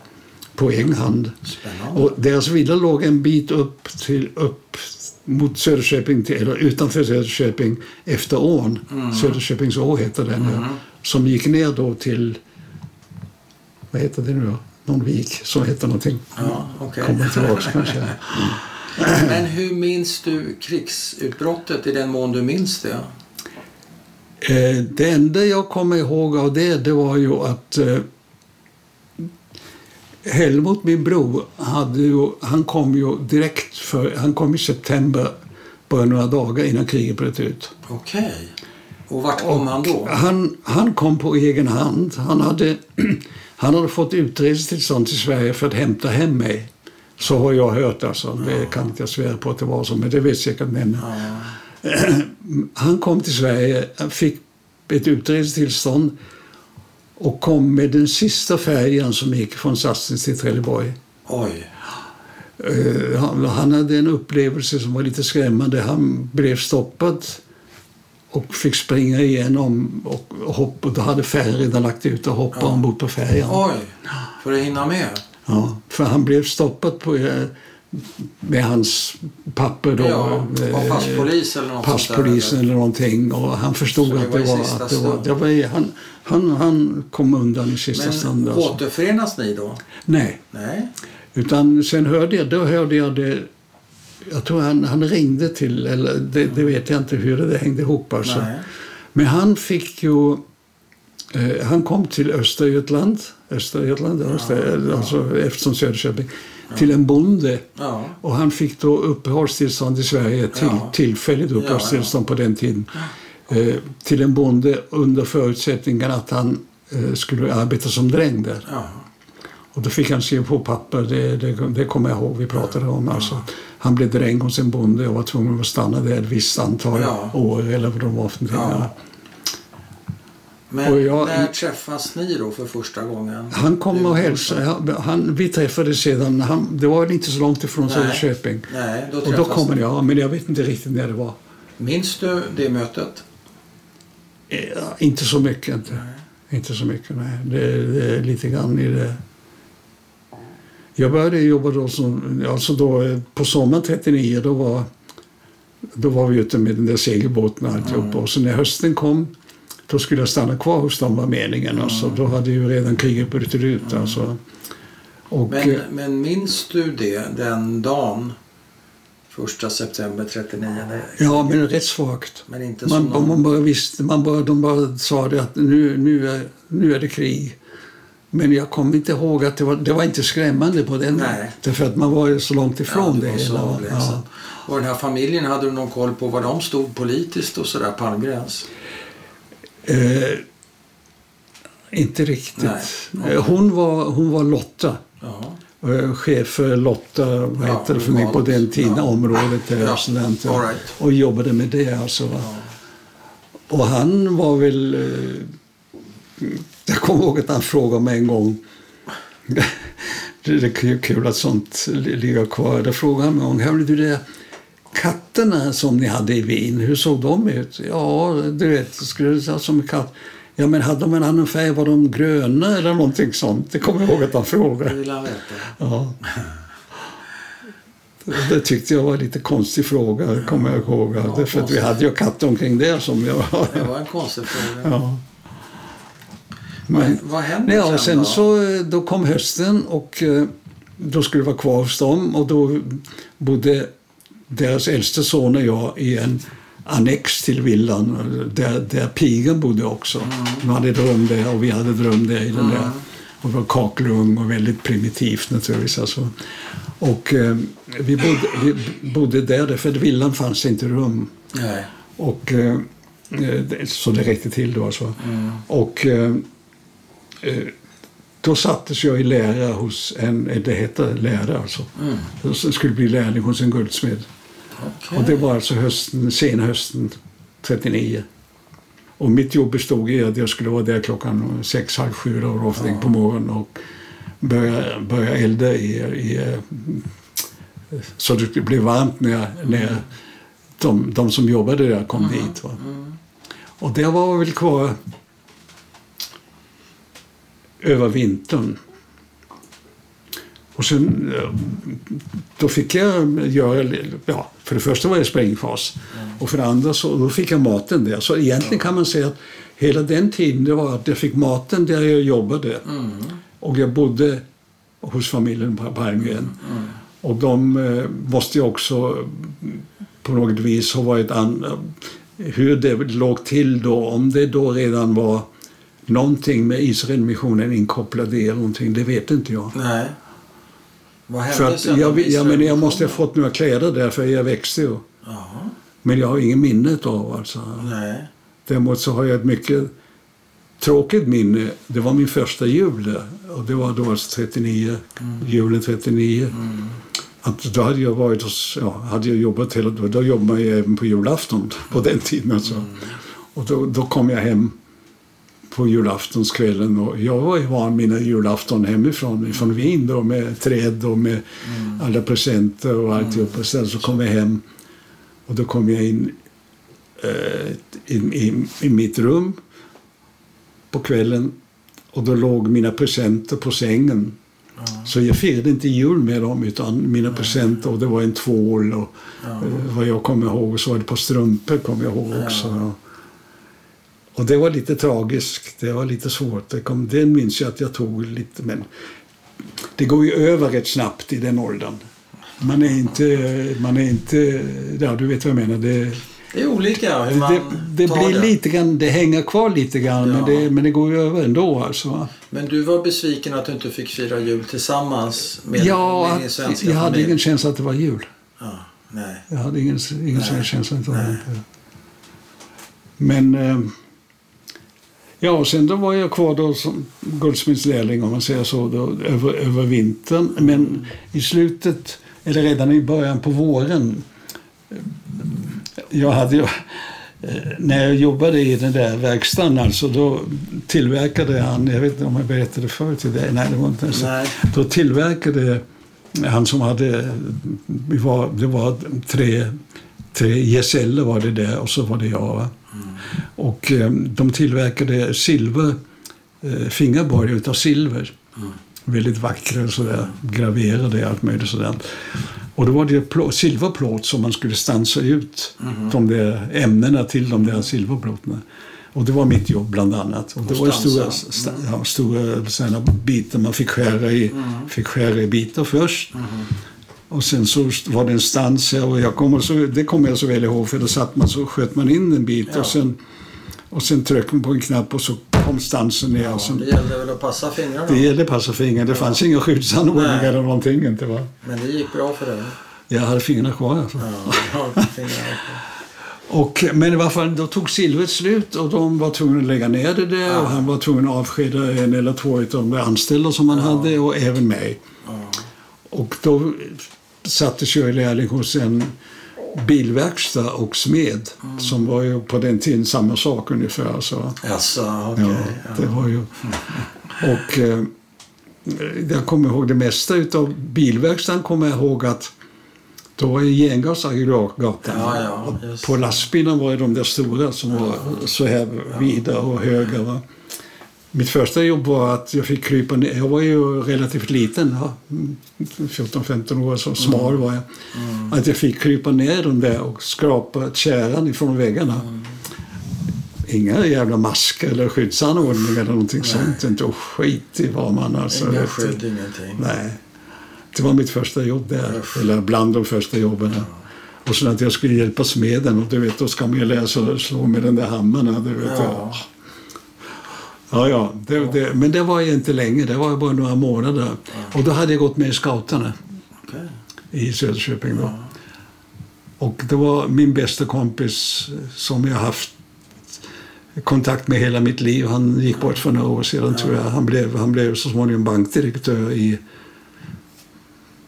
[SPEAKER 1] på egen hand.
[SPEAKER 2] Spännande.
[SPEAKER 1] Och deras villa låg en bit upp, till, upp mot Söderköping, till, eller utanför Söderköping, efter ån.
[SPEAKER 2] Mm.
[SPEAKER 1] Söderköpings å heter den nu. Som gick ner då till, vad heter det nu då? Någon vik som heter någonting.
[SPEAKER 2] Ja, okej.
[SPEAKER 1] Kommer tillbaka kanske.
[SPEAKER 2] Men hur minns du krigsutbrottet i den mån du minns det?
[SPEAKER 1] Eh, Det enda jag kommer ihåg av det, det var ju att eh, Helmut, min bror, hade ju, han kom ju direkt för, han kom i september, bara några dagar innan kriget bröt ut.
[SPEAKER 2] Okej. Och vart kom han då?
[SPEAKER 1] Han, han kom på egen hand. Han hade, han hade fått utresetillstånd till Sverige för att hämta hem mig. Så har jag hört alltså. Det kan inte jag svära på att det var så, men det vet säkert männen.
[SPEAKER 2] Ja.
[SPEAKER 1] Han kom till Sverige, fick ett utresetillstånd och kom med den sista färjan som gick från Sassnitz till Trelleborg.
[SPEAKER 2] Oj.
[SPEAKER 1] Eh, Han, han hade en upplevelse som var lite skrämmande. Han blev stoppad och fick springa igenom och, och hoppa. Och Då hade färjan redan lagt ut och hoppa ombord på färjan.
[SPEAKER 2] Oj. För att hinna med?
[SPEAKER 1] Ja, för han blev stoppad på, eh, med hans papper då.
[SPEAKER 2] Ja, var
[SPEAKER 1] eh,
[SPEAKER 2] passpolis eller något sånt där,
[SPEAKER 1] passpolisen eller någonting och han förstod
[SPEAKER 2] Så det
[SPEAKER 1] att
[SPEAKER 2] var
[SPEAKER 1] det
[SPEAKER 2] i
[SPEAKER 1] var...
[SPEAKER 2] sista
[SPEAKER 1] Att det var,
[SPEAKER 2] stund.
[SPEAKER 1] det var i- han, han, han kom undan i sista
[SPEAKER 2] eller?
[SPEAKER 1] stund.
[SPEAKER 2] Men
[SPEAKER 1] Alltså.
[SPEAKER 2] återförenas ni då?
[SPEAKER 1] Nej,
[SPEAKER 2] Nej.
[SPEAKER 1] utan sen hörde jag, då hörde jag det... Jag tror han, han ringde till, eller det, det vet jag inte hur det där hängde ihop alltså.
[SPEAKER 2] Nej.
[SPEAKER 1] Men han fick ju... Eh, han kom till Östergötland, Östergötland Öster, alltså eftersom Söderköping, till en bonde.
[SPEAKER 2] Ja.
[SPEAKER 1] Och han fick då uppehållstillstånd i Sverige, till,
[SPEAKER 2] Ja.
[SPEAKER 1] tillfälligt uppehållstillstånd på den tiden, eh, till en bonde under förutsättningen att han eh, skulle arbeta som dräng där.
[SPEAKER 2] Ja.
[SPEAKER 1] Och då fick han skriva på papper, det, det, det kommer jag ihåg, vi pratade om. Alltså, han blev dräng hos en bonde och var tvungen att stanna där ett visst antal
[SPEAKER 2] Ja.
[SPEAKER 1] år eller vad de var för någonting.
[SPEAKER 2] Ja. Men
[SPEAKER 1] Och jag-
[SPEAKER 2] när träffas ni då för första gången?
[SPEAKER 1] Han kom
[SPEAKER 2] Du
[SPEAKER 1] och
[SPEAKER 2] första-
[SPEAKER 1] hälsade. Han- Han, vi träffades sedan. Han, det var inte så långt ifrån
[SPEAKER 2] Nej.
[SPEAKER 1] Söderköping.
[SPEAKER 2] Nej, då
[SPEAKER 1] Och
[SPEAKER 2] träffas
[SPEAKER 1] då kommer
[SPEAKER 2] ni.
[SPEAKER 1] jag, men jag vet inte riktigt när det var.
[SPEAKER 2] Minns du det mötet?
[SPEAKER 1] Eh, Inte så mycket. Inte, inte så mycket, nej. Det, det är lite grann i det. Jag började jobba då, som, alltså då eh, på sommaren 39. Då var, då var vi ute med den där segelbåten och alltihopa. Och så när hösten kom då skulle jag stanna kvar hos dem var meningen. Alltså, då hade ju redan kriget brutit ut. Alltså. Och, eh,
[SPEAKER 2] Men, men minns du det den dagen? Första september 39?
[SPEAKER 1] ja, men rätt svagt.
[SPEAKER 2] Men inte som
[SPEAKER 1] Man,
[SPEAKER 2] någon...
[SPEAKER 1] man bara visste, man bara, de bara sa det att nu, nu, är, nu är det krig. Men jag kommer inte ihåg att det var, det var inte skrämmande på den
[SPEAKER 2] Nej.
[SPEAKER 1] Därför att man var ju så långt
[SPEAKER 2] Ja,
[SPEAKER 1] ifrån
[SPEAKER 2] det
[SPEAKER 1] det
[SPEAKER 2] var så
[SPEAKER 1] hela. va?
[SPEAKER 2] avlägset.
[SPEAKER 1] Ja.
[SPEAKER 2] Och den här familjen, hade du någon koll på var de stod politiskt och sådär, Palmgrens?
[SPEAKER 1] Eh, inte riktigt.
[SPEAKER 2] Nej.
[SPEAKER 1] Eh, Hon, var, hon var Lotta,
[SPEAKER 2] Ja.
[SPEAKER 1] eh, chef för Lotta, vad
[SPEAKER 2] Ja,
[SPEAKER 1] hette det för mig på
[SPEAKER 2] lokalt.
[SPEAKER 1] den tiden,
[SPEAKER 2] Ja.
[SPEAKER 1] området där
[SPEAKER 2] Ja,
[SPEAKER 1] och sådant.
[SPEAKER 2] all right.
[SPEAKER 1] Och jobbade med det alltså. Va?
[SPEAKER 2] ja.
[SPEAKER 1] Och han var väl... eh, Jag kommer ihåg att han frågade mig en gång. Det är ju kul att sånt li- ligger kvar. Då frågade han mig om hörde du det, katterna som ni hade i Wien, hur såg de ut? Ja, du vet, skulle du säga som en katt. Ja, men hade de en annan färg? Var de gröna eller någonting sånt? Det kommer jag ihåg att han
[SPEAKER 2] Det
[SPEAKER 1] frågade.
[SPEAKER 2] vill han veta.
[SPEAKER 1] Ja. Det tyckte jag var en lite konstig fråga, det kommer jag ihåg. Därför att vi
[SPEAKER 2] konstigt.
[SPEAKER 1] hade ju katter omkring där som jag
[SPEAKER 2] Det var en konstig fråga.
[SPEAKER 1] Ja. Men,
[SPEAKER 2] Men vad hände
[SPEAKER 1] nej, och sen
[SPEAKER 2] då?
[SPEAKER 1] så eh, då kom hösten och eh, då skulle vi vara kvar hos dem och då bodde deras äldste son och jag i en annex till villan där, där pigan bodde också. De hade ett rum där och vi hade ett rum där i den där. Och det var kakelugn och väldigt primitivt naturligtvis. Alltså. Och eh, vi, bodde, vi bodde där, för att villan fanns inte rum.
[SPEAKER 2] Nej.
[SPEAKER 1] Och, eh, eh, det- så det räckte till då. Så. Och, eh, eh, då sattes jag i lära hos en, eh, det hette lära alltså. Jag s- skulle bli lärling hos en guldsmed.
[SPEAKER 2] Okej.
[SPEAKER 1] Och det var alltså hösten, sena hösten 39. Och mitt jobb bestod i att jag skulle vara där klockan sex, halv sju då, och ja. på morgonen och börja, börja elda i, i eh, så det blev varmt när, när de, de som jobbade där kom dit. Va? Och där var jag väl kvar över vintern. Och sen eh, då fick jag göra, ja, för det första var jag i sprängfas och för det andra så då fick jag maten där. Så egentligen kan man säga att hela den tiden det var att jag fick maten där jag jobbade och jag bodde hos familjen på Palmgren. Och de eh, måste ju också mm, på något vis ha varit an, hur det låg till då, om det då redan var någonting med Israelmissionen inkopplad i eller någonting, det vet inte jag.
[SPEAKER 2] Nej. Vad hände
[SPEAKER 1] För att
[SPEAKER 2] sen?
[SPEAKER 1] jag,
[SPEAKER 2] då?
[SPEAKER 1] jag, men
[SPEAKER 2] liksom
[SPEAKER 1] jag måste ha fått några kläder där, för jag växte ju.
[SPEAKER 2] Jaha.
[SPEAKER 1] Men jag har ingen minnet av alltså.
[SPEAKER 2] Nej.
[SPEAKER 1] Däremot så har jag ett mycket tråkigt minne. Det var min första jul där. och det var då alltså 39, julen 39. Att då hade jag varit hos, ja, hade jag jobbat hela, då, då jobbade man ju även på julafton på den tiden alltså. Och då, då kom jag hem på julaftonskvällen och jag var ju van mina julafton hemifrån, från Wien då med träd och med alla presenter och alltihopa. Sen så kom jag hem och då kom jag in eh, i, i, i mitt rum på kvällen och då låg mina presenter på sängen. Så jag firade inte jul med dem utan mina presenter och det var en tvål och eh, vad jag kommer ihåg och så var det på strumpor kommer jag ihåg också. ja. Och det var lite tragiskt, det var lite svårt. Det, kom, det minns jag att jag tog lite men det går ju över rätt snabbt i den åldern. Man är inte, man är inte, ja du vet vad jag menar. Det,
[SPEAKER 2] Det är olika hur man
[SPEAKER 1] det, det
[SPEAKER 2] tar
[SPEAKER 1] blir
[SPEAKER 2] det.
[SPEAKER 1] lite grann, det hänger kvar lite grann, men,
[SPEAKER 2] Ja.
[SPEAKER 1] det, men det går ju över ändå alltså. va?
[SPEAKER 2] Men du var besviken att du inte fick fira jul tillsammans med,
[SPEAKER 1] ja,
[SPEAKER 2] med din
[SPEAKER 1] att-
[SPEAKER 2] svenska
[SPEAKER 1] jag hade
[SPEAKER 2] familj?
[SPEAKER 1] ingen känsla att det var jul.
[SPEAKER 2] Ja, nej.
[SPEAKER 1] Jag hade ingen, ingen sån här känsla att det var jul. Men, eh, ja, och sen då var jag kvar då som guldsmedslärling om man säger så, då, över, över vintern. Men i slutet, eller redan i början på våren, eh, jag hade ju när jag jobbade i den där verkstaden alltså, då tillverkade han, jag vet inte om jag berättade det förut till dig, nej det var inte ens.
[SPEAKER 2] Nej.
[SPEAKER 1] Då tillverkade han som hade, vi var, det var tre, tre gesäller var det där och så var det jag. Va? Och eh, de tillverkade silver, eh, fingerborgar utav silver. Väldigt vackra och sådär, graverade och allt möjligt sådant. Och då var det plå- silverplåt som man skulle stansa ut de där ämnena till de där silverplåtarna. Och det var mitt jobb bland annat. Och det
[SPEAKER 2] Och
[SPEAKER 1] var ju stora,
[SPEAKER 2] stansa.
[SPEAKER 1] sta- ja, stora såna bitar man fick skära i, fick skära i bitar först. Och sen så var det en stans här och jag kommer så, det kommer jag så väl ihåg för då satt man så sköt man in en bit
[SPEAKER 2] Ja.
[SPEAKER 1] och sen, och sen tryckte man på en knapp och så kom stansen ner. och
[SPEAKER 2] Ja,
[SPEAKER 1] sen,
[SPEAKER 2] det gällde väl att passa fingrarna.
[SPEAKER 1] det gällde passa fingrar, det fanns inga skyddsanordningar
[SPEAKER 2] Nej.
[SPEAKER 1] eller någonting. Inte, va?
[SPEAKER 2] Men det gick bra för dig.
[SPEAKER 1] Jag hade fingrarna kvar. Alltså.
[SPEAKER 2] Ja, ja, fingrarna.
[SPEAKER 1] Och, men i varje fall, då tog silvret slut och de var tvungna att lägga ner det där
[SPEAKER 2] Ja.
[SPEAKER 1] och han var tvungen att avskeda en eller två av de anställda som han hade och även mig.
[SPEAKER 2] Ja.
[SPEAKER 1] Och då sattes jag i lärling hos en bilverkstad och smed som var ju på den tiden samma sak ungefär. Alltså.
[SPEAKER 2] Jaså, okej.
[SPEAKER 1] Ja, det
[SPEAKER 2] ja.
[SPEAKER 1] var ju... Och eh, jag kommer ihåg det mesta utav bilverkstaden kommer jag ihåg att då var ju gengas aggregatgatan.
[SPEAKER 2] Ja, ja,
[SPEAKER 1] Och
[SPEAKER 2] just
[SPEAKER 1] på
[SPEAKER 2] det.
[SPEAKER 1] lastbilen var ju de där stora som var så här vida och höga. Va? Mitt första jobb var att jag fick krypa ner. Jag var ju relativt liten, Mm. ja. 14-15 år, så smal var jag. Att jag fick krypa ner dem där och skrapa tjäran ifrån väggarna. Inga jävla masker eller skyddsanordningar eller någonting sånt. Inte och skit i vad man alltså...
[SPEAKER 2] Inga
[SPEAKER 1] vet.
[SPEAKER 2] skydd, ingenting.
[SPEAKER 1] Nej. Det var mitt första jobb där.
[SPEAKER 2] Usch.
[SPEAKER 1] Eller bland de första jobben. Och sen att jag skulle hjälpa smeden. Och du vet, då ska man ju lära sig att slå med den där hammaren. Du vet,
[SPEAKER 2] Ja.
[SPEAKER 1] ja. Ja, ja. Det, det, men det var ju inte länge. Det var ju bara några månader. Och då hade jag gått med i scouterna
[SPEAKER 2] Okej.
[SPEAKER 1] i Söderköping. Då. Och det var min bästa kompis som jag haft kontakt med hela mitt liv. Han gick bort för några år sedan tror jag. Han blev, han blev så småningom bankdirektör i...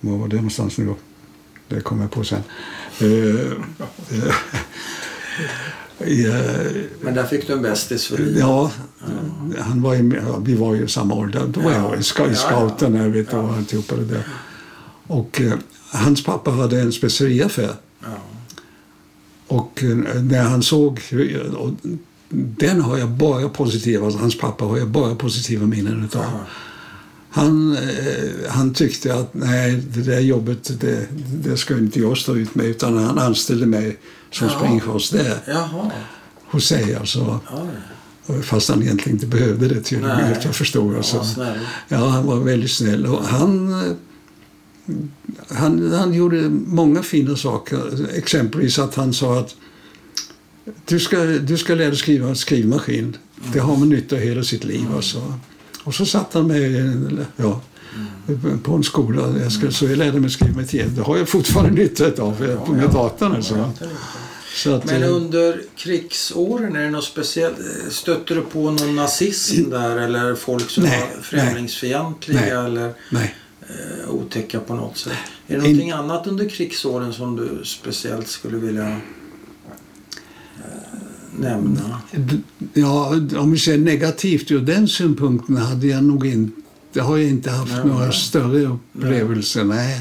[SPEAKER 1] Var var det någonstans nu då? Det kommer jag på sen. Eh, eh, i, eh,
[SPEAKER 2] Men där fick du en bästis för livet.
[SPEAKER 1] Ja, han var ju, ja, vi var ju samma ålder. Då var
[SPEAKER 2] Ja.
[SPEAKER 1] jag i sc- i
[SPEAKER 2] Ja,
[SPEAKER 1] scouten jag vet, och alltihopa det där. Och eh, hans pappa hade en speceriaffär.
[SPEAKER 2] Ja.
[SPEAKER 1] Och eh, när han såg... Och den har jag bara positiva, alltså hans pappa har jag bara positiva minnen utav.
[SPEAKER 2] Ja.
[SPEAKER 1] Han, eh, han tyckte att nej, det där jobbet det, det ska inte jag stå ut med utan han anställde mig som
[SPEAKER 2] Ja.
[SPEAKER 1] springchef där
[SPEAKER 2] Jaha.
[SPEAKER 1] hos sig. Alltså,
[SPEAKER 2] Ja,
[SPEAKER 1] fast han egentligen inte behövde det tydligen,
[SPEAKER 2] Nej.
[SPEAKER 1] efter jag förstod.
[SPEAKER 2] ja,
[SPEAKER 1] Alltså.
[SPEAKER 2] snäll.
[SPEAKER 1] Ja, han var väldigt snäll. Och han, eh, han, han gjorde många fina saker. Exempelvis att han sa att du ska, du ska lära dig skriva en skrivmaskin. Det har man nytta av hela sitt
[SPEAKER 2] Mm.
[SPEAKER 1] liv. Alltså. Och så satt han med i en- ja,
[SPEAKER 2] Mm.
[SPEAKER 1] på en skola. Jag ska, så jag lärde mig skriva med Det har jag fortfarande nytta av eh, på
[SPEAKER 2] Ja,
[SPEAKER 1] med
[SPEAKER 2] ja.
[SPEAKER 1] datorn. Alltså.
[SPEAKER 2] Ja, det är riktigt.
[SPEAKER 1] Så att,
[SPEAKER 2] Men
[SPEAKER 1] eh,
[SPEAKER 2] under krigsåren, är det något speciellt? Stötte du på någon nazism där eller folk som
[SPEAKER 1] Nej,
[SPEAKER 2] var främlingsfientliga
[SPEAKER 1] nej.
[SPEAKER 2] eller
[SPEAKER 1] nej.
[SPEAKER 2] eh, otäcka på något sätt? Är det någonting annat under krigsåren som du speciellt skulle vilja eh, nämna?
[SPEAKER 1] D- Ja, om vi säger negativt ur den synpunkten hade jag nog inte det har jag inte haft
[SPEAKER 2] Nej,
[SPEAKER 1] några
[SPEAKER 2] nej.
[SPEAKER 1] större upplevelser. Nej.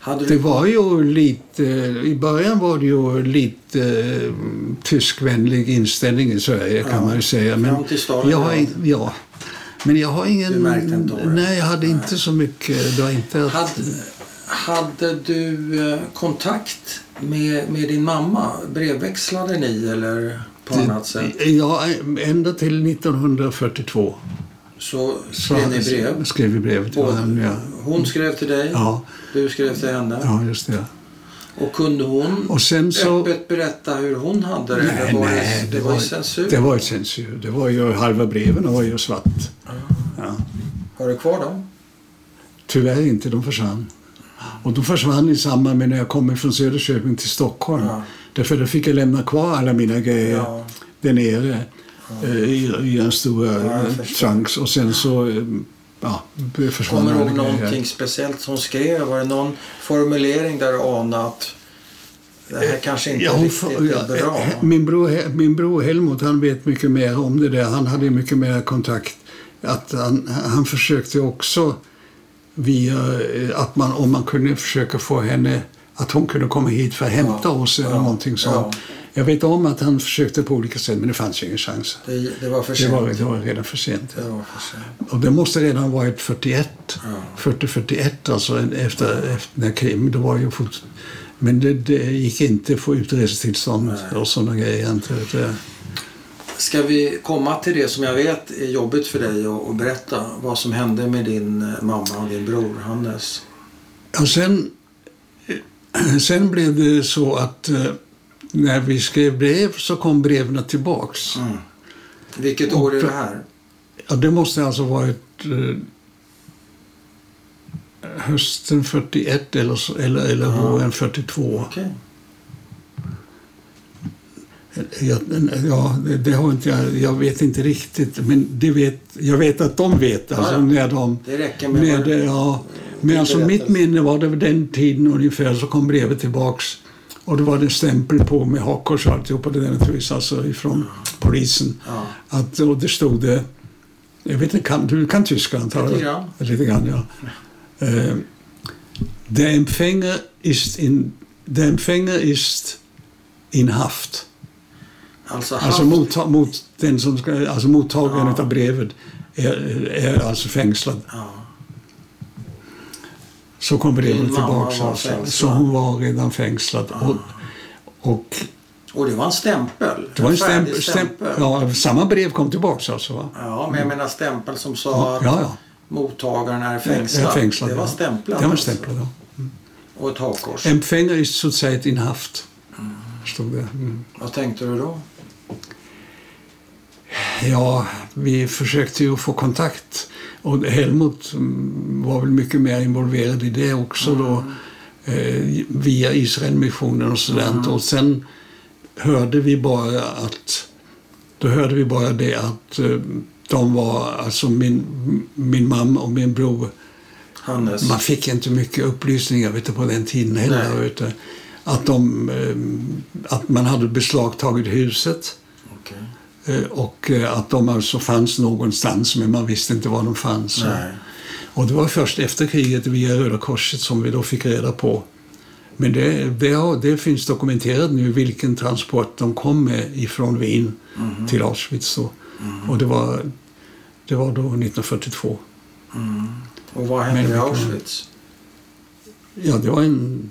[SPEAKER 2] Hade
[SPEAKER 1] Det
[SPEAKER 2] du...
[SPEAKER 1] var ju lite, i början var det ju lite mm, tyskvänlig inställning i Sverige kan
[SPEAKER 2] Ja.
[SPEAKER 1] man ju säga. Men
[SPEAKER 2] Fram till Stalin,
[SPEAKER 1] jag har,
[SPEAKER 2] ja.
[SPEAKER 1] in- ja. Men jag har ingen...
[SPEAKER 2] Du märkte inte av det?
[SPEAKER 1] nej, jag hade inte så mycket. Det var inte att,
[SPEAKER 2] Hade, hade du eh, kontakt med, med din mamma? Brevväxlade ni eller på annat sätt?
[SPEAKER 1] Ja, ända till 1942.
[SPEAKER 2] Så
[SPEAKER 1] så
[SPEAKER 2] skrev ni
[SPEAKER 1] hade-
[SPEAKER 2] brev?
[SPEAKER 1] Skrev vi brev till varandra, ja.
[SPEAKER 2] Hon skrev till dig,
[SPEAKER 1] Ja,
[SPEAKER 2] du skrev till henne.
[SPEAKER 1] ja, just det.
[SPEAKER 2] Och kunde hon
[SPEAKER 1] Och sen så...
[SPEAKER 2] öppet berätta hur hon hade det?
[SPEAKER 1] Nej,
[SPEAKER 2] Eller var
[SPEAKER 1] nej,
[SPEAKER 2] det, det var ju censur.
[SPEAKER 1] Det var ju censur. Det var ju, halva breven var ju svart.
[SPEAKER 2] Ah.
[SPEAKER 1] Ja.
[SPEAKER 2] Har du kvar dem?
[SPEAKER 1] Tyvärr inte, de försvann. Och de försvann i samband med när jag kom från Söderköping till Stockholm.
[SPEAKER 2] Ja.
[SPEAKER 1] Därför då fick jag lämna kvar alla mina grejer
[SPEAKER 2] Ah. Ja. Ah.
[SPEAKER 1] där nere eh, i, i en stor
[SPEAKER 2] jag
[SPEAKER 1] eh,
[SPEAKER 2] förstår.
[SPEAKER 1] trunks. Och sen så eh, ja, försvann
[SPEAKER 2] Kommer du ihåg
[SPEAKER 1] alla grejer.
[SPEAKER 2] någonting speciellt som hon skrev? Var det någon formulering där du anade att det här kanske inte
[SPEAKER 1] Ja, hon
[SPEAKER 2] riktigt
[SPEAKER 1] får- ja,
[SPEAKER 2] är bra.
[SPEAKER 1] eh, Min bror, min bror Helmut han vet mycket mer om det där. Han hade mycket mer kontakt. Att han, han försökte också via eh, att man, om man kunde försöka få henne att hon kunde komma hit för att hämta
[SPEAKER 2] Ja,
[SPEAKER 1] oss eller
[SPEAKER 2] ja,
[SPEAKER 1] någonting
[SPEAKER 2] ja.
[SPEAKER 1] sånt. Jag vet om att han försökte på olika sätt men det fanns ju ingen chans.
[SPEAKER 2] Det, det var för
[SPEAKER 1] Det
[SPEAKER 2] sent.
[SPEAKER 1] var, det var redan för sent.
[SPEAKER 2] Det var för sent.
[SPEAKER 1] Och det måste redan ha varit 41.
[SPEAKER 2] Ja.
[SPEAKER 1] 40-41 alltså en- efter, efter när Krim, då var det ju fort. Men det, det gick inte att få utresetillstånd och sådana grejer. Inte, vet jag.
[SPEAKER 2] Ska vi komma till det som jag vet är jobbigt för dig att att berätta? Vad som hände med din eh, mamma och din bror Hannes?
[SPEAKER 1] Och sen, eh, sen blev det så att eh, när vi skrev brev så kom breven tillbaks.
[SPEAKER 2] Mm. Vilket år är det här?
[SPEAKER 1] Ja, det måste alltså varit eh, hösten 41 eller, så- eller, eller
[SPEAKER 2] Ja.
[SPEAKER 1] våren 42.
[SPEAKER 2] Okej.
[SPEAKER 1] Jag, ja, det, det har inte jag, jag vet inte riktigt, men det vet, jag vet att de vet. Alltså,
[SPEAKER 2] Ja, ja.
[SPEAKER 1] När de,
[SPEAKER 2] Det räcker med...
[SPEAKER 1] när det, ja, men alltså, mitt minne var det vid den tiden ungefär så kom brevet tillbaks och det var det stämpel på med hakkors och alltihopa det där naturligtvis, alltså ifrån polisen.
[SPEAKER 2] Ja.
[SPEAKER 1] Att, och det stod det, jag vet inte, kan, du kan tyska antar jag?
[SPEAKER 2] Lite grann.
[SPEAKER 1] Lite grann, ja. Eh, der Empfänger ist in, der Empfänger ist in Haft.
[SPEAKER 2] Alltså,
[SPEAKER 1] Alltså,
[SPEAKER 2] haft-
[SPEAKER 1] motta, mot den som ska, alltså mottagaren
[SPEAKER 2] Ja.
[SPEAKER 1] av brevet är, är alltså fängslad.
[SPEAKER 2] Ja.
[SPEAKER 1] Så kom
[SPEAKER 2] Din
[SPEAKER 1] brevet
[SPEAKER 2] mamma
[SPEAKER 1] tillbaka.
[SPEAKER 2] var
[SPEAKER 1] Alltså.
[SPEAKER 2] fängslad.
[SPEAKER 1] Så hon var redan fängslad. Och, och
[SPEAKER 2] Och det var en stämpel.
[SPEAKER 1] det var en
[SPEAKER 2] färdig
[SPEAKER 1] stämpel. stämpel. Ja, samma brev kom tillbaka alltså. Va?
[SPEAKER 2] Ja, men jag menar stämpel som sa
[SPEAKER 1] Ja,
[SPEAKER 2] att
[SPEAKER 1] ja.
[SPEAKER 2] mottagaren är
[SPEAKER 1] Jag är
[SPEAKER 2] fängslad.
[SPEAKER 1] fängslad,
[SPEAKER 2] det var
[SPEAKER 1] ja.
[SPEAKER 2] stämplat.
[SPEAKER 1] Det var
[SPEAKER 2] alltså.
[SPEAKER 1] stämplat, ja.
[SPEAKER 2] Och ett hakkors.
[SPEAKER 1] Empfänger ist zurzeit in Haft. Stod det. Mm.
[SPEAKER 2] Vad tänkte du då?
[SPEAKER 1] Ja, vi försökte ju få kontakt. Och Helmut mm, var väl mycket mer involverad i det också då. Eh, via Israelmissionen och sådant. Och sen hörde vi bara att då hörde vi bara det att eh, de var, alltså min, min mamma och min bror,
[SPEAKER 2] Hannes?
[SPEAKER 1] man fick inte mycket upplysningar vet du, på den tiden heller.
[SPEAKER 2] Nej.
[SPEAKER 1] Vet du. Att, de, eh, att man hade beslagtagit huset.
[SPEAKER 2] Okej.
[SPEAKER 1] Eh, och eh, att de alltså fanns någonstans men man visste inte var de fanns.
[SPEAKER 2] Nej.
[SPEAKER 1] Och det var först efter kriget via Röda Korset som vi då fick reda på. Men det, det, har, det finns dokumenterat nu vilken transport de kom med ifrån Wien
[SPEAKER 2] Mhm.
[SPEAKER 1] till Auschwitz. Då. Och det var, det var då 1942.
[SPEAKER 2] Och vad hände
[SPEAKER 1] Men-
[SPEAKER 2] i Auschwitz?
[SPEAKER 1] Ja, det var en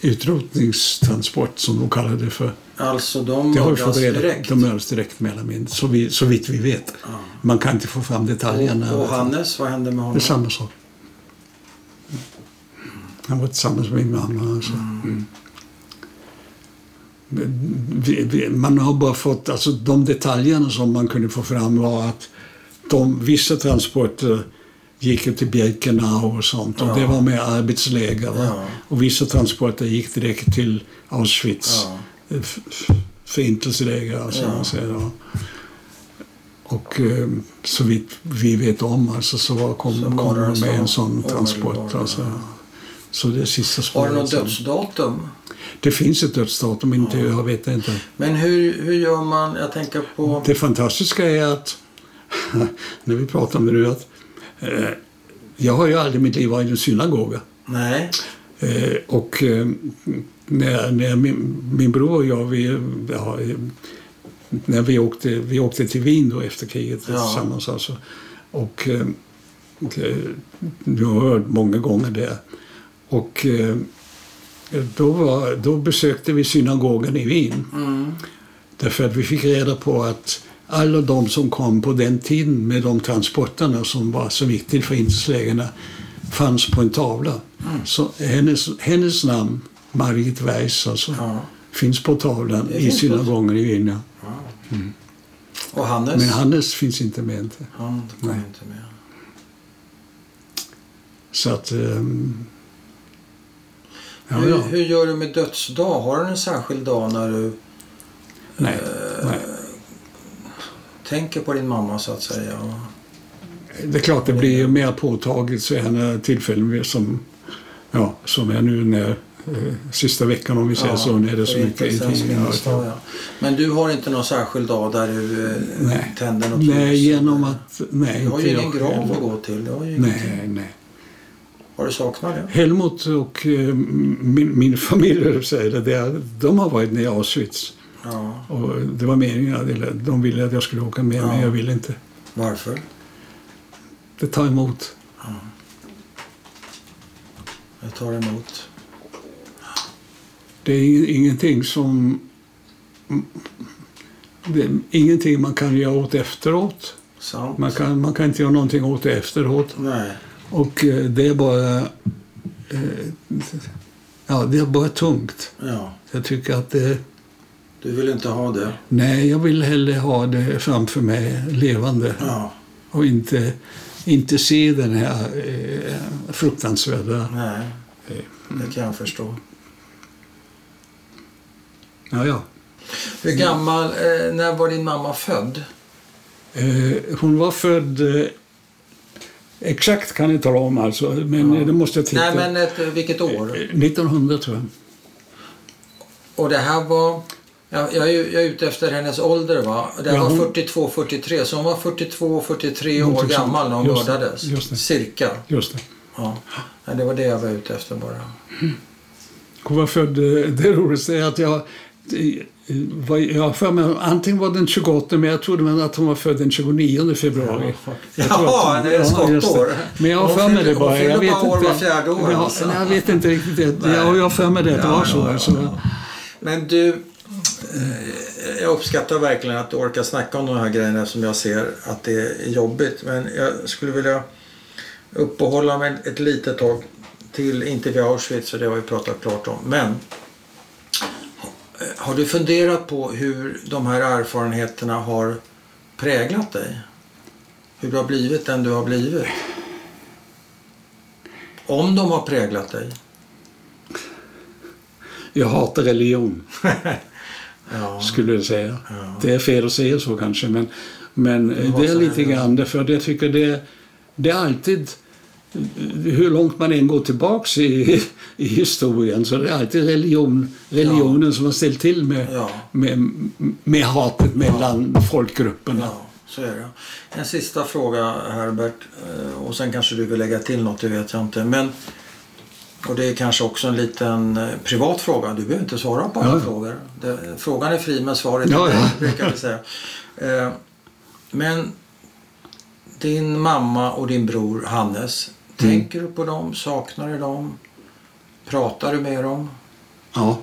[SPEAKER 1] utrotningstransport som de kallade det för.
[SPEAKER 2] Alltså de
[SPEAKER 1] Det har vi
[SPEAKER 2] mördas
[SPEAKER 1] fått reda på.
[SPEAKER 2] direkt.
[SPEAKER 1] De mördades direkt mellan mindre, så, vi, så vitt vi vet. Man kan inte få fram detaljerna.
[SPEAKER 2] och, och Hannes, vad hände med
[SPEAKER 1] Det är
[SPEAKER 2] honom?
[SPEAKER 1] samma sak. Han var tillsammans med min mamma. Alltså. Mm. Vi, vi, man har bara fått, alltså de detaljerna som man kunde få fram var att de, vissa transporter gick ju till Birkenau och sånt och
[SPEAKER 2] Ja.
[SPEAKER 1] det var med arbetsläger. Va?
[SPEAKER 2] Ja.
[SPEAKER 1] Och vissa transporter gick direkt till Auschwitz.
[SPEAKER 2] Ja.
[SPEAKER 1] Eh, f- f- Förintelseläger alltså.
[SPEAKER 2] Ja.
[SPEAKER 1] Man säger, ja. Och eh, så vitt vi vet om alltså, så var- kom,
[SPEAKER 2] Så
[SPEAKER 1] kom,
[SPEAKER 2] var det
[SPEAKER 1] de
[SPEAKER 2] så
[SPEAKER 1] med en sån
[SPEAKER 2] omedelbart,
[SPEAKER 1] transport.
[SPEAKER 2] ja.
[SPEAKER 1] Alltså. Så det är sista
[SPEAKER 2] Har
[SPEAKER 1] spåret.
[SPEAKER 2] du något
[SPEAKER 1] sen.
[SPEAKER 2] dödsdatum?
[SPEAKER 1] Det finns ett dödsdatum, men inte, jag vet inte.
[SPEAKER 2] Men hur, hur gör man? Jag tänker på...
[SPEAKER 1] Det fantastiska är att, när vi pratar om det nu, att eh, jag har ju aldrig i mitt liv varit i en synagoga.
[SPEAKER 2] Nej.
[SPEAKER 1] Eh, och eh, när, när min, min bror och jag, vi, ja, eh, när vi, åkte, vi åkte till Wien då efter kriget
[SPEAKER 2] Ja.
[SPEAKER 1] tillsammans. Alltså. Och, eh, och, eh, jag har hört många gånger det. Och eh, då, var, då besökte vi synagogan i Wien.
[SPEAKER 2] Mm.
[SPEAKER 1] Därför att vi fick reda på att alla de som kom på den tiden med de transporterna som, var, som gick till förintelselägren fanns på en tavla.
[SPEAKER 2] Mm.
[SPEAKER 1] Så hennes, hennes namn, Margit Weiss, alltså,
[SPEAKER 2] Ja.
[SPEAKER 1] finns på tavlan
[SPEAKER 2] Det
[SPEAKER 1] i
[SPEAKER 2] finns på-
[SPEAKER 1] synagogan i Wien. ja.
[SPEAKER 2] Och Hannes?
[SPEAKER 1] Men Hannes finns inte med. Inte.
[SPEAKER 2] Han kom
[SPEAKER 1] Nej.
[SPEAKER 2] inte med.
[SPEAKER 1] Så att... ehm, ja,
[SPEAKER 2] hur,
[SPEAKER 1] ja.
[SPEAKER 2] hur gör du med dödsdag? Har du en särskild dag när du
[SPEAKER 1] Nej, nej.
[SPEAKER 2] tänker på din mamma så att säga? Och,
[SPEAKER 1] Det är klart det blir ju mer påtagligt sådana tillfällen som, ja, som är nu när eh, sista veckan om vi säger
[SPEAKER 2] Ja,
[SPEAKER 1] så, när det är så
[SPEAKER 2] inte
[SPEAKER 1] mycket i
[SPEAKER 2] Svensk
[SPEAKER 1] tidningarna.
[SPEAKER 2] Filmdag, ja. Men du har inte någon särskild dag där du eh,
[SPEAKER 1] Nej.
[SPEAKER 2] tänder något
[SPEAKER 1] Nej,
[SPEAKER 2] ljus?
[SPEAKER 1] genom att... Nej,
[SPEAKER 2] Du har ju
[SPEAKER 1] inte
[SPEAKER 2] ingen
[SPEAKER 1] jag
[SPEAKER 2] grav
[SPEAKER 1] själv.
[SPEAKER 2] att gå till. Du har, ju ingenting.
[SPEAKER 1] Nej, nej.
[SPEAKER 2] har du saknat det?
[SPEAKER 1] Helmut och eh, min, min familj, höll jag på att säga, det, det är- de har varit nere i Auschwitz.
[SPEAKER 2] Ja.
[SPEAKER 1] Och det var meningen, att- eller de ville att jag skulle åka med, men
[SPEAKER 2] Ja.
[SPEAKER 1] jag ville inte.
[SPEAKER 2] Varför?
[SPEAKER 1] Det tar emot.
[SPEAKER 2] Jag tar emot.
[SPEAKER 1] Det är ing- ingenting som... Det är ingenting man kan göra åt efteråt.
[SPEAKER 2] Sant?
[SPEAKER 1] Man kan, man kan inte göra någonting åt det efteråt.
[SPEAKER 2] Nej.
[SPEAKER 1] Och eh, det är bara... Eh, ja, det är bara tungt.
[SPEAKER 2] Ja.
[SPEAKER 1] Jag tycker att det...
[SPEAKER 2] Du vill inte ha det?
[SPEAKER 1] Nej, jag vill hellre ha det framför mig levande
[SPEAKER 2] Ja.
[SPEAKER 1] och inte, inte se den här eh, fruktansvärda...
[SPEAKER 2] Nej. Det kan jag förstå.
[SPEAKER 1] Ja, ja.
[SPEAKER 2] Hur gammal, eh, när var din mamma född?
[SPEAKER 1] Eh, hon var född... Eh, exakt kan jag inte tala om alltså, men
[SPEAKER 2] Ja.
[SPEAKER 1] det måste jag titta.
[SPEAKER 2] Nej men ett, vilket
[SPEAKER 1] Eh,
[SPEAKER 2] år?
[SPEAKER 1] 1900 tror jag.
[SPEAKER 2] Och det här var, jag, jag, är, ju- jag är ute efter hennes ålder va? Det här
[SPEAKER 1] Ja, hon-
[SPEAKER 2] var 42, 43, så hon var 42, 43 år
[SPEAKER 1] Någonting sånt.
[SPEAKER 2] gammal när hon
[SPEAKER 1] Just det,
[SPEAKER 2] mördades.
[SPEAKER 1] just det.
[SPEAKER 2] Cirka.
[SPEAKER 1] Just det.
[SPEAKER 2] Ja. Nej, det var det jag var ute efter bara.
[SPEAKER 1] Hon var född... eh, Det roligaste är att jag... eh, var- Jag har för mig, antingen var den 28 men jag trodde väl att hon var född den 29 februari. Jag tror
[SPEAKER 2] Jaha,
[SPEAKER 1] att-
[SPEAKER 2] det är
[SPEAKER 1] ja, just
[SPEAKER 2] skottår.
[SPEAKER 1] Men jag har
[SPEAKER 2] Hon
[SPEAKER 1] för mig
[SPEAKER 2] fyller-
[SPEAKER 1] det bara.
[SPEAKER 2] Hon fyller
[SPEAKER 1] Jag vet
[SPEAKER 2] bara år
[SPEAKER 1] inte.
[SPEAKER 2] var fjärde år.
[SPEAKER 1] Ja,
[SPEAKER 2] alltså.
[SPEAKER 1] nej, jag vet inte riktigt. Det.
[SPEAKER 2] Nej.
[SPEAKER 1] Jag, jag har för mig det att det
[SPEAKER 2] Ja,
[SPEAKER 1] var så.
[SPEAKER 2] ja, ja,
[SPEAKER 1] alltså.
[SPEAKER 2] ja. Men du, eh, jag uppskattar verkligen att du orkar snacka om de här grejerna som jag ser att det är jobbigt. Men jag skulle vilja uppehålla mig ett litet tag till, inte vid Auschwitz för det har vi pratat klart om. Men eh, har du funderat på hur de här erfarenheterna har präglat dig? Hur du har blivit den du har blivit? Om de har präglat dig?
[SPEAKER 1] Jag hatar religion,
[SPEAKER 2] Ja.
[SPEAKER 1] skulle jag säga.
[SPEAKER 2] Ja.
[SPEAKER 1] Det är fel att säga så kanske, men, men
[SPEAKER 2] Ja,
[SPEAKER 1] det är
[SPEAKER 2] så är
[SPEAKER 1] lite
[SPEAKER 2] det.
[SPEAKER 1] grann det. För jag tycker det, det är alltid, hur långt man än går tillbaks i, i historien, så det är alltid religion, religionen som har ställt till med,
[SPEAKER 2] Ja.
[SPEAKER 1] med, med hatet mellan folkgrupperna.
[SPEAKER 2] Ja, så är det. En sista fråga Herbert eh, och sen kanske du vill lägga till något, det vet jag inte. Men, och det är kanske också en liten eh, privat fråga, du behöver inte svara på alla
[SPEAKER 1] Ja, ja.
[SPEAKER 2] frågor. Det, frågan är fri men svaret är
[SPEAKER 1] Ja,
[SPEAKER 2] nej,
[SPEAKER 1] ja.
[SPEAKER 2] brukar vi säga. Eh, Men din mamma och din bror Hannes,
[SPEAKER 1] Mm.
[SPEAKER 2] tänker du på dem? Saknar du dem? Pratar du med dem?
[SPEAKER 1] Ja.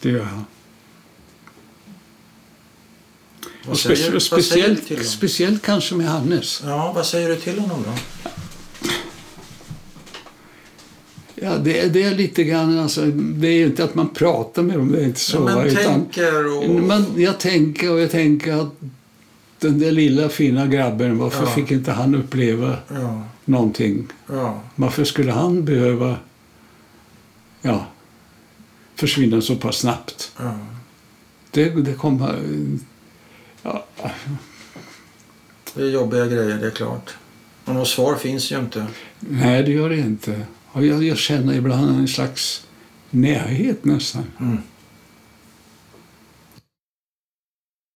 [SPEAKER 1] Det gör jag.
[SPEAKER 2] Vad
[SPEAKER 1] Och
[SPEAKER 2] säger,
[SPEAKER 1] specie-
[SPEAKER 2] vad säger du till
[SPEAKER 1] speciellt,
[SPEAKER 2] dem?
[SPEAKER 1] speciellt kanske med Hannes.
[SPEAKER 2] Ja, vad säger du till honom då?
[SPEAKER 1] Ja, det, är- det är lite grann, alltså, det är ju inte att man pratar med dem, det är inte så.
[SPEAKER 2] Ja,
[SPEAKER 1] va,
[SPEAKER 2] men
[SPEAKER 1] utan,
[SPEAKER 2] tänker och...
[SPEAKER 1] men jag tänker och jag tänker att den där lilla fina grabben, varför
[SPEAKER 2] Ja.
[SPEAKER 1] fick inte han uppleva
[SPEAKER 2] Ja,
[SPEAKER 1] någonting?
[SPEAKER 2] ja.
[SPEAKER 1] Varför skulle han behöva ja, försvinna så pass snabbt?
[SPEAKER 2] Ja,
[SPEAKER 1] Det, det kommer... Ja,
[SPEAKER 2] det är jobbiga grejer, det är klart. Och något svar finns ju inte.
[SPEAKER 1] nej, det gör det inte. Och jag, jag känner ibland en slags närhet nästan.
[SPEAKER 2] Mm.